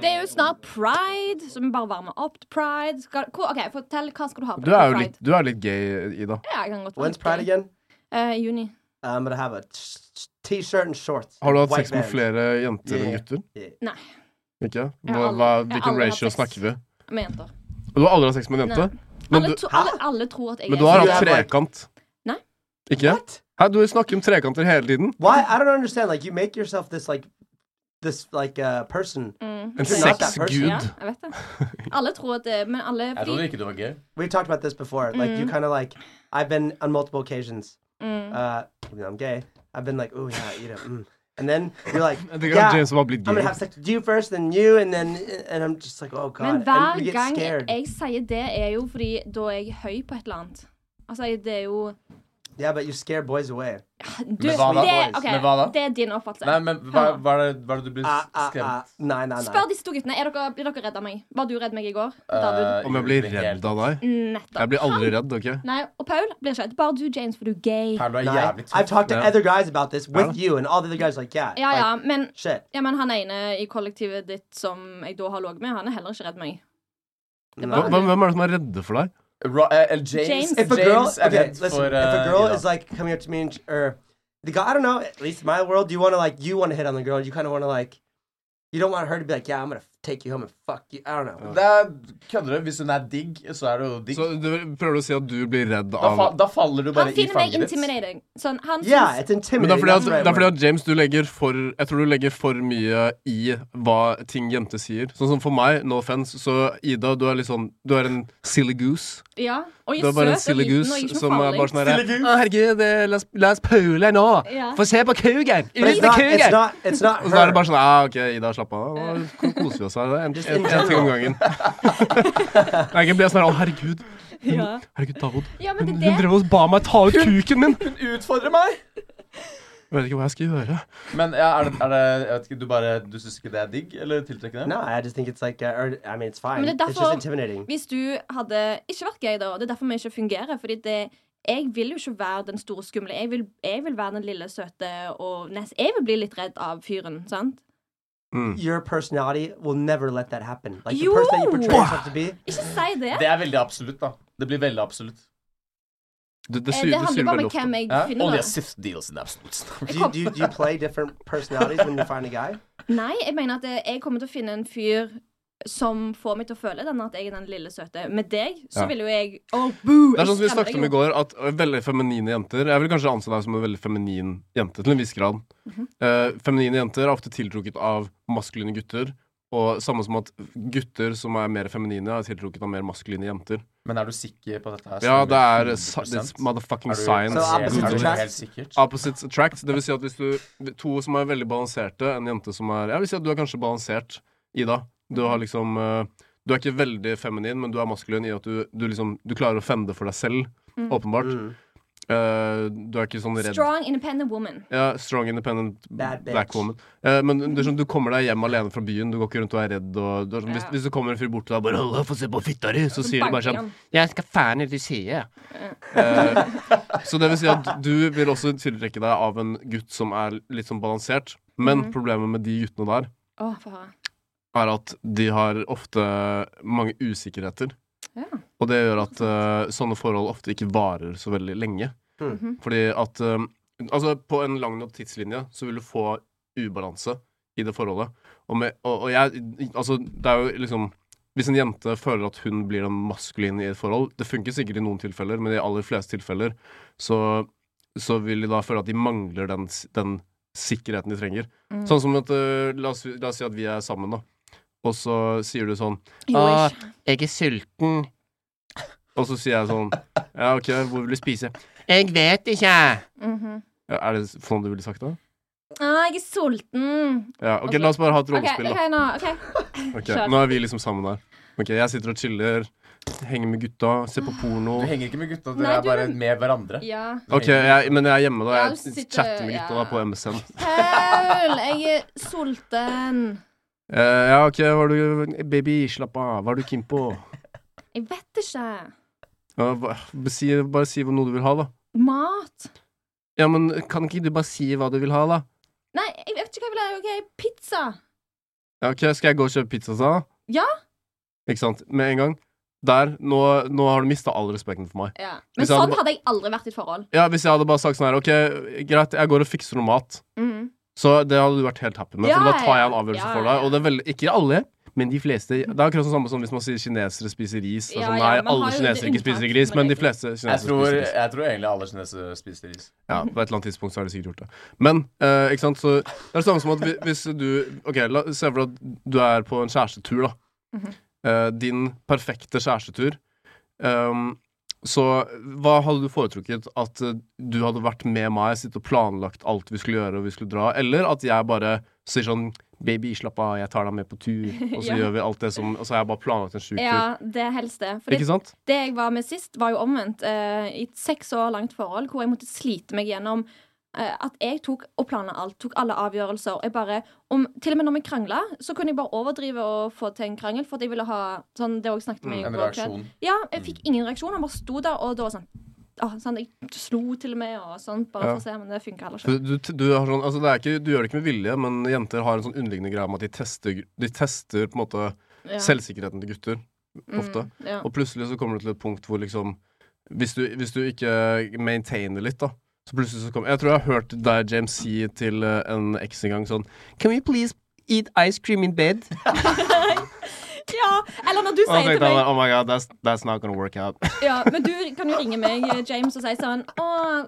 Speaker 5: Det er jo snart pride, så vi bare varmer opp til pride. Skal, hvor, OK, fortell hva skal du ha på
Speaker 1: Du
Speaker 5: deg
Speaker 1: er
Speaker 5: på
Speaker 1: jo
Speaker 5: pride?
Speaker 1: litt, du er litt gay, Ida.
Speaker 5: Ja, jeg kan godt være
Speaker 2: When's
Speaker 5: litt
Speaker 2: Pride
Speaker 5: gay.
Speaker 2: again?
Speaker 5: Eh, I juni.
Speaker 2: I'm gonna have a t- t- t-shirt and shorts.
Speaker 1: Har du hatt
Speaker 2: White
Speaker 1: sex med
Speaker 2: band.
Speaker 1: flere jenter enn
Speaker 2: Yeah.
Speaker 1: gutter?
Speaker 2: Yeah.
Speaker 5: Nei,
Speaker 1: Ikke?
Speaker 5: Jeg
Speaker 1: Hva,
Speaker 5: har aldri-
Speaker 1: hva,
Speaker 5: jeg har
Speaker 1: hvilken
Speaker 5: aldri hatt
Speaker 1: ratio
Speaker 5: sex.
Speaker 1: snakker vi?
Speaker 5: med jenter.
Speaker 1: Du har aldri hatt sex med en jente? Men
Speaker 5: Alle,
Speaker 1: du,
Speaker 5: tro, alle, alle tror at jeg
Speaker 1: men
Speaker 5: er
Speaker 1: du har
Speaker 2: You
Speaker 1: hatt
Speaker 2: have, like-
Speaker 1: trekant?
Speaker 5: Nei.
Speaker 1: Ikke?
Speaker 2: What?
Speaker 1: Hæ, du snakker om trekanter hele tiden.
Speaker 2: Why? I don't understand. Like, you make yourself this like, this like uh, person.
Speaker 5: Mm.
Speaker 1: En
Speaker 2: You're not that person.
Speaker 5: Ja,
Speaker 1: sexgud.
Speaker 5: jeg vet det. Alle tror at det Men alle
Speaker 6: Jeg trodde ikke du var gay.
Speaker 2: We've talked about this before. Like, you kind of like. I've been on multiple occasions. Uh, even though I'm gay, I've been like, ooh yeah, you know. Mm. And then you're like,
Speaker 1: Jeg tenker at
Speaker 2: yeah,
Speaker 1: James var blitt
Speaker 2: I'm gonna
Speaker 1: gay.
Speaker 2: have sex with you first, then you, and then and I'm just like, oh god.
Speaker 5: Men
Speaker 2: And
Speaker 5: hver
Speaker 2: you get
Speaker 5: gang
Speaker 2: scared.
Speaker 5: jeg sier det, er jo fordi da er jeg høy på et eller annet. Altså, det er jo
Speaker 2: Yeah, but you scare boys away.
Speaker 5: du,
Speaker 6: Men hva da?
Speaker 5: Det, ok,
Speaker 6: Men hva da?
Speaker 5: det er din oppfattelse.
Speaker 6: Nei, men hva,
Speaker 5: Hør nå.
Speaker 6: hva, er det, hva er det du blir
Speaker 2: Ah, ah, ah.
Speaker 6: skremt
Speaker 2: Nei, nei, nei.
Speaker 5: Spør disse to guttene. Er dere, blir dere redd av meg? Var du redd meg i går? David?
Speaker 6: Eh,
Speaker 1: Om jeg blir redd av deg?
Speaker 5: Nettopp.
Speaker 1: Jeg blir aldri redd, OK?
Speaker 5: Nei, og Paul blir ikke redd. Bare du, James, for du er gay.
Speaker 6: Perlo er
Speaker 2: Nei.
Speaker 6: jævlig
Speaker 2: I've
Speaker 6: tøff.
Speaker 2: talked to
Speaker 1: Yeah.
Speaker 2: other guys about this with
Speaker 1: Yeah.
Speaker 2: you, and all the other guys are like, yeah,
Speaker 5: Ja,
Speaker 2: like,
Speaker 5: ja, men
Speaker 2: shit.
Speaker 5: ja, men han ene i kollektivet ditt som jeg da har ligget med, han er heller ikke redd meg. Det er
Speaker 1: Hva- Hvem
Speaker 5: bare-
Speaker 1: hvem er det som er redde for deg?
Speaker 6: Ro- eh, eh, James,
Speaker 5: James.
Speaker 6: James.
Speaker 2: If a girl,
Speaker 6: er
Speaker 2: okay,
Speaker 6: redd
Speaker 2: listen,
Speaker 6: for
Speaker 2: if a
Speaker 6: eh,
Speaker 2: girl
Speaker 6: Ida.
Speaker 2: is like coming up to me and or the guy, I don't know. At least in my world, you want to like you want to hit on the girl. You kind of want to like, you don't want her to be like, yeah, I'm gonna f- take you home and fuck you. I don't know.
Speaker 6: Det er, Kødder du? Hvis hun er digg, så er du jo digg.
Speaker 1: Så du prøver å si at du blir redd
Speaker 6: da, fa
Speaker 1: av
Speaker 6: da faller du bare
Speaker 5: Han
Speaker 6: i
Speaker 5: finner meg
Speaker 6: fanget ditt.
Speaker 5: intimidating. Sånn, han
Speaker 2: Yeah,
Speaker 5: syns-
Speaker 2: it's intimidating.
Speaker 1: Men det er fordi at,
Speaker 2: that's the right
Speaker 1: det er fordi
Speaker 2: word.
Speaker 1: at James, du legger for Jeg tror du legger for mye i hva ting jenter sier. Sånn som for meg, no offense, så Ida, du er litt sånn Du er en silly goose.
Speaker 5: ja, og jeg
Speaker 1: Du er bare en
Speaker 5: søt og
Speaker 1: silly
Speaker 5: liten, og jeg
Speaker 1: goose
Speaker 5: ikke noe
Speaker 1: som er
Speaker 5: farlig.
Speaker 1: bare sånn herre
Speaker 6: Silly goose.
Speaker 1: Å, herregud, det- la oss- la oss pule nå!
Speaker 5: Ja.
Speaker 1: Få se på kugen!
Speaker 2: But it's
Speaker 1: Ut med
Speaker 2: not. It's
Speaker 1: kugen!
Speaker 2: not. It's not
Speaker 1: Og så er det
Speaker 2: her.
Speaker 1: bare sånn Ja, OK, Ida, slapp av. Nå koser vi oss her. En,
Speaker 2: Just
Speaker 1: en,
Speaker 2: in
Speaker 1: en ting om
Speaker 2: general.
Speaker 1: gangen. Jeg kan bli sånn her Å, herregud.
Speaker 5: Ja.
Speaker 1: Herregud, David.
Speaker 5: ja, men
Speaker 1: Hun,
Speaker 5: det
Speaker 1: hun
Speaker 5: er det.
Speaker 1: drev og ba meg ta ut kuken min!
Speaker 6: Hun utfordrer meg!
Speaker 1: Jeg vet ikke hva jeg skal gjøre.
Speaker 6: Men ja, er det, er det jeg vet ikke, Du bare, du syns ikke det er digg, eller tiltrekkende?
Speaker 2: No, I just think it's like, uh, or, I mean, it's fine.
Speaker 5: Men det er
Speaker 2: It's just
Speaker 5: derfor-
Speaker 2: intimidating.
Speaker 5: Hvis du hadde ikke vært gay, da, og det er derfor vi ikke fungerer Fordi det jeg vil jo ikke være den store skumle. Jeg vil, jeg vil være den lille søte og nest. Jeg vil bli litt redd av fyren, sant?
Speaker 1: Mm.
Speaker 2: Your personality will never let that happen. Like
Speaker 5: You-
Speaker 2: the person that you portray yourself to be.
Speaker 5: Ikke si det.
Speaker 6: Det er veldig absolutt, da. Det blir veldig absolutt.
Speaker 1: Det, det,
Speaker 5: Eh,
Speaker 1: sier-
Speaker 5: Det
Speaker 1: det
Speaker 5: handler
Speaker 1: sier
Speaker 5: bare
Speaker 1: veldig
Speaker 5: om
Speaker 1: ofte.
Speaker 5: hvem jeg
Speaker 6: Ja?
Speaker 5: finner.
Speaker 6: Only a
Speaker 5: da.
Speaker 6: Sith deals in absolute.
Speaker 2: Do you, do, you, do you play different personalities when you find a guy?
Speaker 5: Nei, jeg mener at eh, jeg kommer til å finne en fyr som får meg til å føle den at jeg er den lille søte. Med deg så
Speaker 1: Ja.
Speaker 5: vil jo jeg oh, boo,
Speaker 1: Det er sånn som vi
Speaker 5: jeg skremmer
Speaker 1: snakket om i
Speaker 5: deg jo.
Speaker 1: går, at øh, veldig feminine jenter Jeg vil kanskje anse deg som en veldig feminin jente, til en viss grad. Eh, feminine jenter er ofte tiltrukket av maskuline gutter, Og samme som at gutter som er mer feminine, er tiltrukket av mer maskuline jenter.
Speaker 6: Men er du sikker på at dette? er
Speaker 1: Ja, det er
Speaker 6: sånn
Speaker 1: sa-
Speaker 6: 100%?
Speaker 1: it's motherfucking
Speaker 6: Er du-
Speaker 1: science.
Speaker 2: Så
Speaker 6: er du-
Speaker 2: opposites
Speaker 6: er du
Speaker 2: attract?
Speaker 6: helt sikkert?
Speaker 1: Opposites attract. Det vil si at hvis du To som er veldig balanserte, en jente som er Jeg vil si at du er kanskje balansert, Ida. Du har liksom eh, Du er ikke veldig feminin, men du er maskulin i at du, du liksom Du klarer å fende for deg selv,
Speaker 5: Mm.
Speaker 1: åpenbart.
Speaker 2: Mm.
Speaker 1: Eh, du er ikke sånn redd
Speaker 5: Strong, independent woman.
Speaker 1: ja, Strong independent
Speaker 2: Bad bitch.
Speaker 1: black woman. Eh, men du, skjønner, du kommer deg hjem alene fra byen. Du går ikke rundt og er redd. Og, du er sånn, hvis,
Speaker 5: Ja.
Speaker 1: hvis det kommer en fyr bort til deg og bare «Halla, 'Få se på fitta di', så sier de bare sånn 'Jeg skal faen ikke si det'. Eh, så det vil si at du vil også tiltrekke deg av en gutt som er litt sånn balansert. Men
Speaker 5: Mhm.
Speaker 1: problemet med de guttene der
Speaker 5: Å, få høre.
Speaker 1: er at de har ofte mange usikkerheter.
Speaker 5: Ja.
Speaker 1: Og det gjør at eh, sånne forhold ofte ikke varer så veldig lenge.
Speaker 2: Mm.
Speaker 5: Mhm.
Speaker 1: Fordi at eh, Altså, på en lang nok tidslinje så vil du få ubalanse i det forholdet. Og, med, og, og jeg Altså, det er jo liksom Hvis en jente føler at hun blir den maskuline i et forhold Det funker sikkert i noen tilfeller, men i de aller fleste tilfeller så, så vil de da føle at de mangler den, s- den sikkerheten de trenger.
Speaker 5: Mm.
Speaker 1: Sånn som at eh, la, oss, la oss si at vi er sammen, da. Og så sier du sånn
Speaker 5: Jo,
Speaker 1: Ah,
Speaker 5: ikke.
Speaker 1: jeg er sulten. Og så sier jeg sånn Ja, OK, hvor vil du spise? Jeg vet ikke.
Speaker 5: Mhm.
Speaker 1: Ja, er det sånn du ville sagt det?
Speaker 5: Ah, jeg er sulten.
Speaker 1: Ja, OK,
Speaker 5: Altså-
Speaker 1: la oss bare ha et
Speaker 5: OK,
Speaker 1: rollespill, da.
Speaker 5: ok, nå, ok.
Speaker 1: Ok,
Speaker 5: kjør.
Speaker 1: Nå er vi liksom sammen her. OK, jeg sitter og chiller, henger med gutta, ser på porno.
Speaker 6: Du henger ikke med gutta, dere
Speaker 5: Nei,
Speaker 6: er
Speaker 5: du-
Speaker 6: bare med hverandre.
Speaker 5: Ja.
Speaker 6: Du
Speaker 1: OK,
Speaker 6: henger-
Speaker 1: jeg, men jeg er hjemme, da.
Speaker 5: Ja,
Speaker 1: Jeg
Speaker 5: du sitter-
Speaker 1: chatter med gutta
Speaker 5: ja.
Speaker 1: da på MSN.
Speaker 5: Paul, jeg er sulten.
Speaker 1: Eh, ja, OK, hva er du Baby, slapp av. Hva er du keen på?
Speaker 5: Jeg vet ikke.
Speaker 1: Ja, hva, si, bare si noe du vil ha, da.
Speaker 5: Mat?
Speaker 1: Ja, men kan ikke du bare si hva du vil ha, da?
Speaker 5: Nei, jeg vet ikke hva jeg vil ha. OK, pizza.
Speaker 1: Ja, ok, Skal jeg gå og kjøpe pizza, sa han?
Speaker 5: Ja.
Speaker 1: Ikke sant? Med en gang. Der. Nå, nå har du mista all respekten for meg.
Speaker 5: Ja. Men
Speaker 1: Hvis jeg hadde
Speaker 5: sånn
Speaker 1: ba-
Speaker 5: hadde jeg aldri vært i et forhold.
Speaker 1: Ja, Hvis jeg hadde bare sagt sånn her OK, greit, jeg går og fikser noe mat.
Speaker 5: Mhm.
Speaker 1: Så det hadde du vært helt happy med,
Speaker 5: Ja,
Speaker 1: for da tar jeg en
Speaker 5: ja,
Speaker 1: avgjørelse
Speaker 5: ja,
Speaker 1: for
Speaker 5: ja.
Speaker 1: deg. Og det er veldig, ikke alle, men de fleste. Det er akkurat sånn samme som hvis man sier kinesere spiser ris. Det er
Speaker 5: Ja,
Speaker 1: sånn,
Speaker 5: ja,
Speaker 1: nei,
Speaker 5: man har
Speaker 1: alle
Speaker 5: jo
Speaker 1: kinesere
Speaker 5: det
Speaker 1: ikke spiser
Speaker 5: unntak
Speaker 1: gris,
Speaker 5: som
Speaker 1: men de
Speaker 5: regel.
Speaker 1: fleste kinesere
Speaker 6: Jeg tror,
Speaker 1: spiser ris.
Speaker 6: jeg tror egentlig alle kinesere spiser ris.
Speaker 1: Ja,
Speaker 5: Mhm.
Speaker 1: på et eller annet tidspunkt så har de sikkert gjort det. Men eh, ikke sant, så det er det samme som at hvi- hvis du Ok, la, se for deg at du er på en kjærestetur, da.
Speaker 5: Mhm.
Speaker 1: Eh, din perfekte kjærestetur. Ehm, så hva hadde du foretrukket? At eh, du hadde vært med meg, sittet og planlagt alt vi skulle gjøre, og vi skulle dra, eller at jeg bare sier sånn Baby, slapp av, jeg tar deg med på tur, og så
Speaker 5: Ja.
Speaker 1: gjør vi alt det som Og så har jeg bare planlagt en sjuk tur.
Speaker 5: Ja, det er helst det. Fordi
Speaker 1: Ikke sant?
Speaker 5: det jeg var med sist, var jo omvendt. eh, I et seks år langt forhold hvor jeg måtte slite meg gjennom eh, at jeg tok og planla alt, tok alle avgjørelser. Jeg bare, om, til og med når vi krangla, så kunne jeg bare overdrive og få til en krangel, for at jeg ville ha sånn, det også snakket vi
Speaker 1: Mm,
Speaker 5: om
Speaker 6: En
Speaker 5: i går kveld.
Speaker 6: reaksjon.
Speaker 5: Ja, jeg fikk ingen reaksjon. Han bare sto der, og da var sånn ah, sånn, Jeg slo til og med og sånn, bare
Speaker 1: Ja.
Speaker 5: for å se, men det funka heller
Speaker 1: For
Speaker 5: ikke.
Speaker 1: Du, du, har sånn, altså det er ikke, du gjør det ikke med vilje, men jenter har en sånn underliggende greie med at de tester, de tester på en måte
Speaker 5: Ja.
Speaker 1: selvsikkerheten til gutter ofte.
Speaker 5: Mm, ja.
Speaker 1: Og plutselig så kommer du til et punkt hvor liksom Hvis du, hvis du ikke maintainer litt, da så plutselig så kommer Jeg tror jeg har hørt deg, James, si til eh, en eks en gang sånn Can we please eat ice cream in bed?
Speaker 5: ja, eller når du
Speaker 1: Og da
Speaker 5: sier til
Speaker 1: tenkte jeg
Speaker 5: meg
Speaker 1: oh my god, that's, that's not gonna work out.
Speaker 5: ja, Men du kan jo ringe meg, eh, James, og si sånn Å,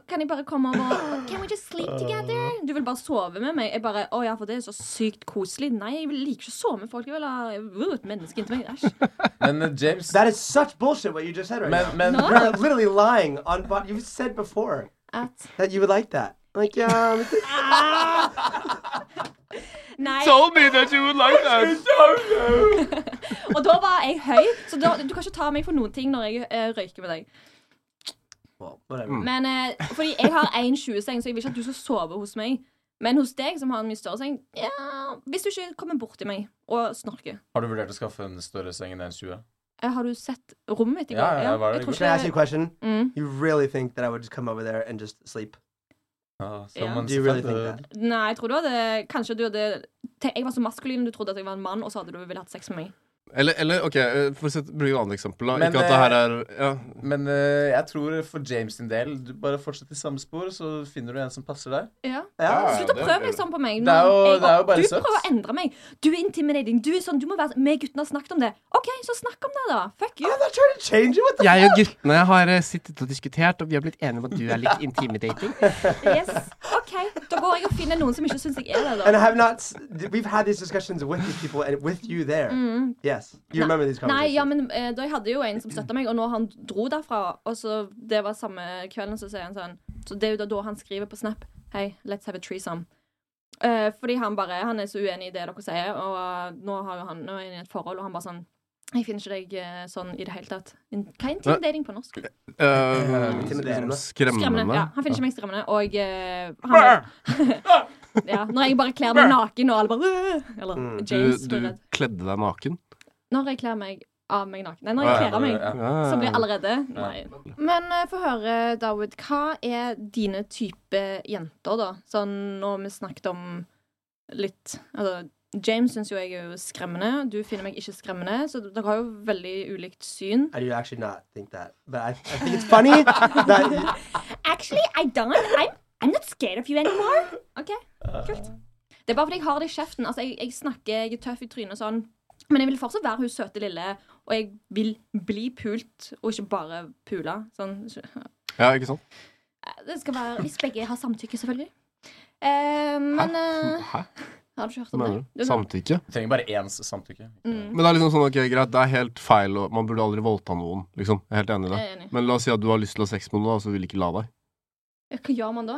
Speaker 5: kan jeg bare komme over? Can we just sleep together?
Speaker 6: Ah.
Speaker 5: Du vil bare sove med meg. Jeg bare Å ja, for det er så sykt koselig. Nei, jeg vil- liker ikke å sove med folk. Jeg vil ha jeg vil ha et menneske inntil meg. Æsj.
Speaker 6: Men eh, James
Speaker 2: That is such bullshit what you just said right
Speaker 6: Men,
Speaker 2: now.
Speaker 6: men
Speaker 5: Nå?
Speaker 2: You're literally lying on what you've said before
Speaker 5: At
Speaker 2: that you would like that. Like, yeah. it's-
Speaker 5: Nei.
Speaker 1: Told me that you would like that.
Speaker 5: Og da var jeg høy, så da, du kan ikke ta meg for noen ting når jeg eh, røyker med deg.
Speaker 2: Well, whatever.
Speaker 5: Men eh, fordi jeg har 1,20-seng, så jeg vil ikke at du skal sove hos meg. Men hos deg, som har en mye større seng, ja, hvis du ikke kommer bort til meg og snorker.
Speaker 6: har du vurdert å skaffe en større seng enn en 20?
Speaker 5: Eh, Har du sett rommet mitt i går?
Speaker 6: Ja, ja, jeg var der i
Speaker 5: tror
Speaker 6: går.
Speaker 2: Can I ask you a
Speaker 5: ikke
Speaker 2: question?
Speaker 5: mm,
Speaker 2: You really think that I would just come over there and just sleep?
Speaker 6: Ah,
Speaker 5: Ja.
Speaker 6: someone
Speaker 2: Do you really
Speaker 6: said,
Speaker 2: think
Speaker 6: eh,
Speaker 2: that?
Speaker 5: Nei, jeg tror du hadde Kanskje du hadde te- Jeg var så maskulin, du trodde at jeg var en mann, og så hadde du ville hatt sex med meg.
Speaker 1: Eller, eller OK, eh, for å sette- bruke et annet eksempel. Da.
Speaker 6: Men,
Speaker 1: ikke at det her er ja,
Speaker 6: Men eh, jeg tror for James sin del Du bare fortsett i samme spor, så finner du en som passer deg.
Speaker 5: Ja.
Speaker 1: Ja,
Speaker 2: Yeah.
Speaker 5: Slutt å
Speaker 1: det
Speaker 5: prøve
Speaker 1: blir
Speaker 5: deg
Speaker 1: det.
Speaker 5: sånn på meg.
Speaker 6: Det er jo-
Speaker 5: Når jeg-
Speaker 6: det er jo bare
Speaker 5: du
Speaker 6: søtt.
Speaker 5: prøver å endre meg. Du er intimidating. Du er sånn, du må være Vi guttene har snakket om det. OK, så snakk om det, da. Fuck you.
Speaker 2: I'm not trying to change it. What the
Speaker 1: Jeg og guttene har eh, sittet og diskutert, og vi har blitt enige om at du er litt intimidating.
Speaker 5: Yes. OK, OK, da går jeg og finner noen som ikke syns jeg er det,
Speaker 2: And I
Speaker 5: da.
Speaker 2: have not. s- d- We've had these discussions with these people and with you there. Yes, you
Speaker 5: No-
Speaker 2: remember these
Speaker 5: Nei,
Speaker 2: conversations.
Speaker 5: ja, men eh, da jeg hadde jo en som støtta meg, og når han dro derfra, og så det var samme kvelden, så sier han sånn Så det er jo da, da han skriver på Snap Hei, let's have a threesome. Eh, fordi han bare Han er så uenig i det dere sier, og eh, nå, har jo han, nå er han i et forhold, og han bare sånn Jeg finner ikke deg eh, sånn i det hele tatt. In Hva er intimidering på norsk?
Speaker 1: Eh,
Speaker 2: Intimiderende.
Speaker 5: Skremmende.
Speaker 1: skremmende.
Speaker 5: Ja, han finner ikke meg skremmende, og eh, han, ja, Når jeg bare kler meg naken, og alle bare «Øh», Eller
Speaker 2: Mm.
Speaker 1: Du,
Speaker 5: James
Speaker 1: du
Speaker 5: blir redd.
Speaker 1: kledde deg naken.
Speaker 5: Når jeg kler meg av meg naken Nei, når
Speaker 6: Ja,
Speaker 5: jeg
Speaker 6: ja,
Speaker 5: kler av meg,
Speaker 6: ja.
Speaker 5: så blir jeg
Speaker 1: Ja.
Speaker 5: allerede Nei. Men eh, få høre, Dawood, hva er dine type jenter, da? Sånn nå har vi snakket om litt Altså, James syns jo jeg er jo skremmende. Du finner meg ikke skremmende, så dere har jo veldig ulikt syn.
Speaker 2: I do actually not think that, but I, I think it's funny that y-
Speaker 5: Actually, I don't. I'm, I'm not scared of you anymore. OK, kult. Det er bare fordi jeg har det i kjeften. Altså, jeg, jeg snakker, jeg er tøff i trynet og sånn. Men jeg vil fortsatt være hun søte lille, og jeg vil bli pult, og ikke bare pula. Sånn.
Speaker 1: ja, ikke sant?
Speaker 5: Det skal være Hvis begge har samtykke, selvfølgelig. Eh, men
Speaker 1: Hæ?
Speaker 5: eh,
Speaker 1: Hæ?
Speaker 5: Har du ikke hørt
Speaker 1: Hva
Speaker 5: om det?
Speaker 1: mener
Speaker 5: Det
Speaker 1: du?
Speaker 5: er sånn-
Speaker 1: Samtykke?
Speaker 6: Du trenger bare ens samtykke.
Speaker 1: Men
Speaker 5: Mm,
Speaker 1: det er liksom sånn, ok, greit, det er helt feil, og man burde aldri voldta noen, liksom. Jeg er helt enig i det.
Speaker 5: jeg er enig.
Speaker 1: Men la oss si at du har lyst til å ha sex med noen, da, og så vil de ikke la deg.
Speaker 5: Hva gjør man da?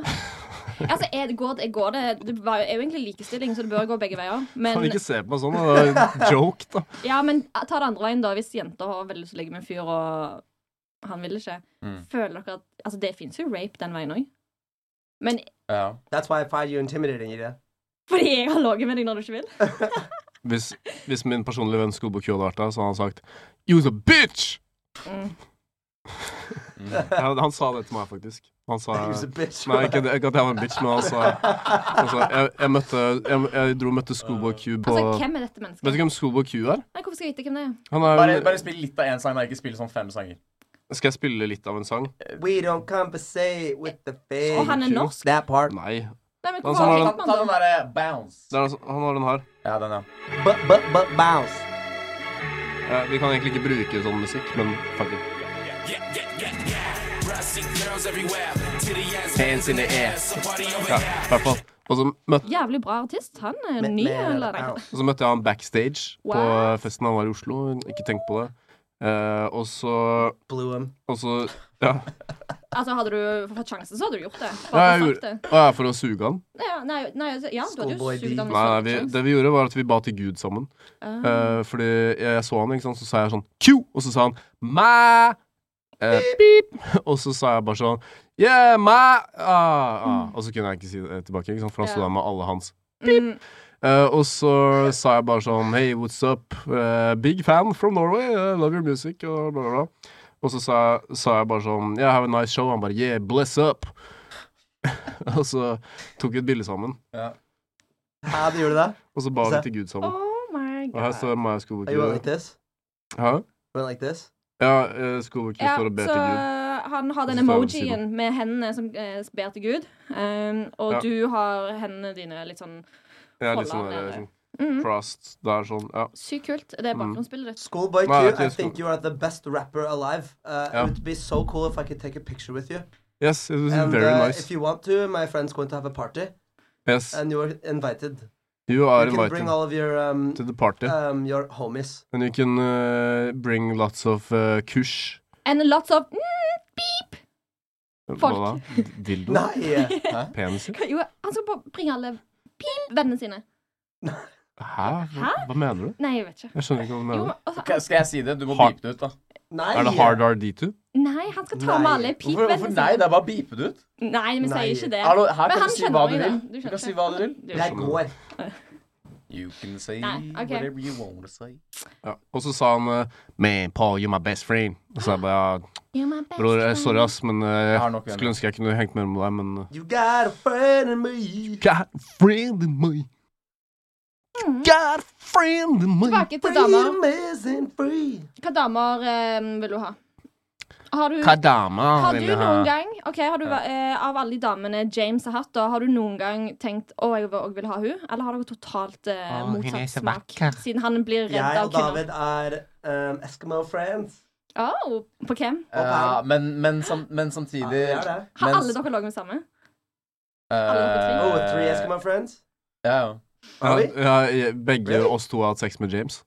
Speaker 5: Altså, er det, går, det, går det Det var jo- er jo egentlig likestilling, så det bør gå begge veier.
Speaker 1: Kan
Speaker 5: Men
Speaker 1: ikke se på meg sånn, da. Det er en joke, da.
Speaker 5: Ja, men ta det andre veien, da. Hvis jenter har veldig lyst til å ligge med en fyr, og han vil ikke.
Speaker 6: Mm.
Speaker 5: Føler dere at Altså, det fins jo rape den veien òg. Men
Speaker 6: Ja.
Speaker 2: that's why I find you intimidating, Ida.
Speaker 5: fordi jeg har ligget med deg når du ikke vil?
Speaker 1: Hvis, hvis min personlige venn Skobo Q hadde vært der, så hadde han sagt You's a bitch!
Speaker 5: Mm.
Speaker 1: Ja, han sa det til meg, faktisk. Han sa
Speaker 2: He was a bitch.
Speaker 1: Nei, ikke, det- ikke at jeg var en bitch, men han sa han sa, jeg, jeg møtte Jeg, jeg dro og møtte Skobo Q på
Speaker 5: Altså, hvem er dette
Speaker 1: Vet du
Speaker 5: mennesket?
Speaker 1: hvem Skobo Q er?
Speaker 5: Nei, hvorfor skal jeg vite hvem det er?
Speaker 1: Han er
Speaker 6: Bare, bare spill litt av én sang, da. Ikke spill sånn fem sanger.
Speaker 1: Skal jeg spille litt av en sang?
Speaker 2: We don't compensate with the
Speaker 5: Og
Speaker 2: fake.
Speaker 5: han er norsk?
Speaker 2: That part.
Speaker 1: Nei.
Speaker 5: Nei, men
Speaker 1: Han
Speaker 5: hvorfor
Speaker 1: som
Speaker 5: har
Speaker 1: har
Speaker 5: jeg
Speaker 6: Ta,
Speaker 5: ikke
Speaker 6: ta
Speaker 5: med
Speaker 6: den
Speaker 5: han da?
Speaker 6: derre bounce.
Speaker 1: Det er, altså- han har den her.
Speaker 6: Ja, den, ja.
Speaker 2: But but but bounce.
Speaker 1: Eh, vi kan egentlig ikke bruke sånn musikk, men fuck it. Hands in the air. Ja, i hvert fall. Og så, møt,
Speaker 5: Jævlig bra artist. Han er
Speaker 2: Med-
Speaker 5: ny,
Speaker 2: med
Speaker 5: eller? Nei.
Speaker 2: bounce.
Speaker 1: og så møtte jeg han backstage på
Speaker 5: Wow.
Speaker 1: festen han var i Oslo. Ikke tenk på det. Eh, og så
Speaker 2: Blew him.
Speaker 1: Og så Ja.
Speaker 5: Altså, hadde du fått sjansen, så hadde du gjort det. Bare
Speaker 1: ja jeg
Speaker 5: for å
Speaker 1: gjorde,
Speaker 5: sagt det.
Speaker 1: Å, ja, for å suge han?
Speaker 5: Nei, nei, nei, altså, ja, du hadde jo
Speaker 2: Schoolboy
Speaker 5: sugd
Speaker 2: D.
Speaker 5: han
Speaker 1: Nei, nei vi, det vi gjorde, var at vi ba til Gud sammen.
Speaker 5: Ah.
Speaker 1: Eh, fordi jeg, jeg så han, ikke sant, så sa jeg sånn Q! Og så sa han mæ! Eh, beep. Og så sa jeg bare sånn Yeah, mæ! Ah, ah. Og så kunne jeg ikke si det tilbake, ikke sant, for han sto
Speaker 5: Ja.
Speaker 1: der med alle hans.
Speaker 5: Mm,
Speaker 1: Eh, og så sa jeg bare sånn Hey, what's up? Eh, big fan from Norway. eh, love your music. Og bla, bla, bla. Og så sa, jeg- sa jeg bare sånn Yeah, have a nice show. Han bare Yeah, bless up. og så tok vi et bilde sammen.
Speaker 6: ja.
Speaker 2: How do you do that?
Speaker 1: Og så ba
Speaker 2: Så-
Speaker 1: vi til Gud sammen.
Speaker 5: oh my
Speaker 1: Og her
Speaker 5: god.
Speaker 1: står Maja
Speaker 2: Oh, you went like
Speaker 1: Skobekru.
Speaker 2: this.
Speaker 1: Hæ?
Speaker 2: Went like this.
Speaker 1: Ja, uh, Skobekru
Speaker 5: Ja,
Speaker 1: står og ber
Speaker 5: så
Speaker 1: til Gud.
Speaker 5: han har
Speaker 1: Og så står
Speaker 5: den
Speaker 1: det ved
Speaker 5: emojien med hendene som eh, ber til Gud. Um, og
Speaker 1: Ja.
Speaker 5: du har hendene dine litt sånn
Speaker 1: Jeg er litt
Speaker 5: holder
Speaker 1: sånn,
Speaker 5: han
Speaker 1: der,
Speaker 5: nede.
Speaker 1: sånn
Speaker 5: mm,
Speaker 1: crossed der, sånn. Ja.
Speaker 5: Sykt kult. Det er bakgrunnsbildet ditt.
Speaker 2: Schoolboy Q,
Speaker 1: No,
Speaker 2: I
Speaker 1: it is
Speaker 2: think
Speaker 1: cool.
Speaker 2: you are the best rapper alive. Uh,
Speaker 1: Yeah.
Speaker 2: It would be so cool if I could take a picture with you.
Speaker 1: Yes, it was
Speaker 2: And
Speaker 1: very
Speaker 2: uh, if
Speaker 1: nice.
Speaker 2: you want to, my friend's going to have a party,
Speaker 1: Yes,
Speaker 2: and you're invited.
Speaker 1: you are
Speaker 2: you can bring
Speaker 1: invited
Speaker 2: all of your um,
Speaker 1: to the party.
Speaker 2: um your homies.
Speaker 1: And you can eh, bring lots of eh, kush.
Speaker 5: And lots of mm, beep!
Speaker 1: Hva da? Dildo?
Speaker 2: Nei!
Speaker 1: Peniser?
Speaker 5: Jo, han skal bare bringe alle beep vennene sine.
Speaker 1: Hæ? Hva, hva mener du?
Speaker 5: Nei, jeg vet ikke.
Speaker 1: Jeg skjønner ikke hva du
Speaker 5: Jo,
Speaker 1: mener.
Speaker 5: altså,
Speaker 6: Ok, Skal jeg si det? Du må
Speaker 1: Har-
Speaker 6: beepe det ut, da.
Speaker 2: Nei!
Speaker 1: Er det Hard RD2?
Speaker 5: nei, han skal ta
Speaker 2: Nei.
Speaker 5: med alle
Speaker 6: Hvorfor,
Speaker 5: peep-vennene
Speaker 6: hvorfor nei?
Speaker 5: sine.
Speaker 6: Det er bare å beepe det ut.
Speaker 5: Nei, vi
Speaker 2: Nei.
Speaker 5: sier ikke det.
Speaker 6: Hallo, her
Speaker 5: Men
Speaker 6: kan
Speaker 5: han
Speaker 6: du si hva
Speaker 5: skjønner
Speaker 6: du
Speaker 5: jo det.
Speaker 6: vil.
Speaker 5: Du
Speaker 6: Du
Speaker 5: skjønner
Speaker 6: kan si hva du vil.
Speaker 5: Du-
Speaker 2: Jeg går.
Speaker 6: You can say
Speaker 5: Nei, ok.
Speaker 6: whatever you want to say.
Speaker 1: Ja. Og så sa han eh, Man, Paul, you're my best friend. Og så jeg bare ja,
Speaker 5: You're my Ah. best
Speaker 1: Bror, eh,
Speaker 5: friend.
Speaker 1: sorry, ass, men eh,
Speaker 6: Jeg har nok
Speaker 1: jeg skulle ønske jeg kunne hengt mer med deg, men eh,
Speaker 2: You got a friend in me.
Speaker 1: Got a friend in me.
Speaker 5: Mm.
Speaker 1: Got a friend in me.
Speaker 5: Tilbake til damer.
Speaker 2: Freedom isn't free.
Speaker 5: Hva damer eh, vil du ha? Har du
Speaker 1: Hva dama
Speaker 5: Har du
Speaker 1: vil ha?
Speaker 5: noen gang ok, har du, eh, Av alle de damene James har hatt, da, har du noen gang tenkt å, jeg vil, vil ha hun? Eller har dere totalt eh,
Speaker 1: Å, hun er
Speaker 5: motsatt
Speaker 1: så
Speaker 5: smak?
Speaker 1: vakker.
Speaker 5: Siden han blir redd
Speaker 2: Jeg
Speaker 5: av
Speaker 2: og
Speaker 5: kvinner.
Speaker 2: David er um, Eskimo friends.
Speaker 5: Å, på hvem?
Speaker 2: Og
Speaker 6: Ja, men, men, sam, men samtidig
Speaker 2: Ja, det er det.
Speaker 5: Har
Speaker 6: men-
Speaker 5: alle dere ligget med samme? Alle
Speaker 2: Oh,
Speaker 1: Uh,
Speaker 2: with three Eskimo friends?
Speaker 6: Ja, ja.
Speaker 2: Are we?
Speaker 1: Ja, ja, begge
Speaker 2: Really?
Speaker 1: oss to har hatt sex med James.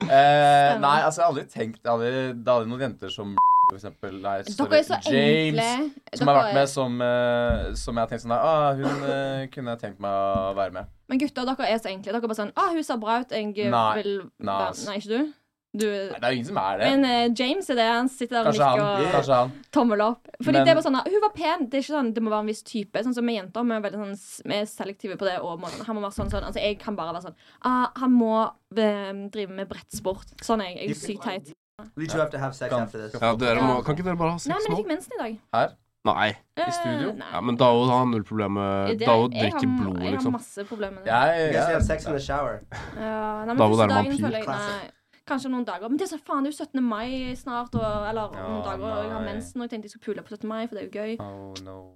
Speaker 6: Eh, nei, altså, jeg har aldri tenkt jeg har aldri, Det er aldri noen jenter som for eksempel, nei,
Speaker 5: Dere er så
Speaker 6: sorry, James,
Speaker 5: enkle.
Speaker 6: Som
Speaker 5: Dere
Speaker 6: har vært
Speaker 5: er-
Speaker 6: med, som, eh, som jeg har tenkt sånn der, ah, Hun eh, kunne jeg tenkt meg å være med.
Speaker 5: Men gutter, dere er så enkle. Dere er bare sånn 'Å, hun ser bra ut. Jeg eh,
Speaker 6: Nei.
Speaker 5: vil
Speaker 6: Nei,
Speaker 5: være-
Speaker 6: ass.
Speaker 5: Nei, ikke du? Du
Speaker 6: Nei, det er jo ingen som er det.
Speaker 5: Men eh, James er det. Han sitter der og
Speaker 6: Kanskje
Speaker 5: nikker
Speaker 6: han.
Speaker 5: og
Speaker 6: Kanskje han.
Speaker 5: tommel opp. Fordi
Speaker 6: Men-
Speaker 5: det var sånn at, Hun var pen. Det er ikke sånn, det må være en viss type. Sånn som med jenter. Vi er veldig sånn, vi er selektive på det. Og måten. Han må være sånn, sånn Altså, jeg kan bare være sånn ah, Han må eh, drive med brettsport. Sånn er jeg. Jeg er sykt teit.
Speaker 2: We two have to have sex
Speaker 6: Come-
Speaker 2: after this.
Speaker 1: Ja, dere må, kan ikke dere bare ha
Speaker 5: Nei,
Speaker 1: sex
Speaker 5: men jeg
Speaker 1: nå?
Speaker 5: fikk mensen i dag.
Speaker 6: Her?
Speaker 1: Nei.
Speaker 5: Eh,
Speaker 6: studio?
Speaker 5: nei.
Speaker 1: Ja, men Dao har null problem med
Speaker 5: Det-
Speaker 1: Dao
Speaker 5: jeg har-
Speaker 1: drikker blod,
Speaker 5: Jeg har
Speaker 1: liksom.
Speaker 5: masse problemer med det.
Speaker 6: Jeg,
Speaker 2: You guys
Speaker 6: jeg,
Speaker 2: have sex in the shower.
Speaker 5: Ja, nei, men
Speaker 1: Da var det
Speaker 5: første
Speaker 1: en
Speaker 5: dagen
Speaker 1: vampyr.
Speaker 5: føler jeg nei,
Speaker 2: Classic.
Speaker 5: Kanskje om noen dager. Men det er så faen, det er jo 17. mai snart, og, eller om noen
Speaker 6: Ja,
Speaker 5: dager. Og jeg har
Speaker 6: nei.
Speaker 5: mensen, og jeg tenkte jeg skulle pule på 17. mai, for det er jo gøy.
Speaker 6: Oh, no.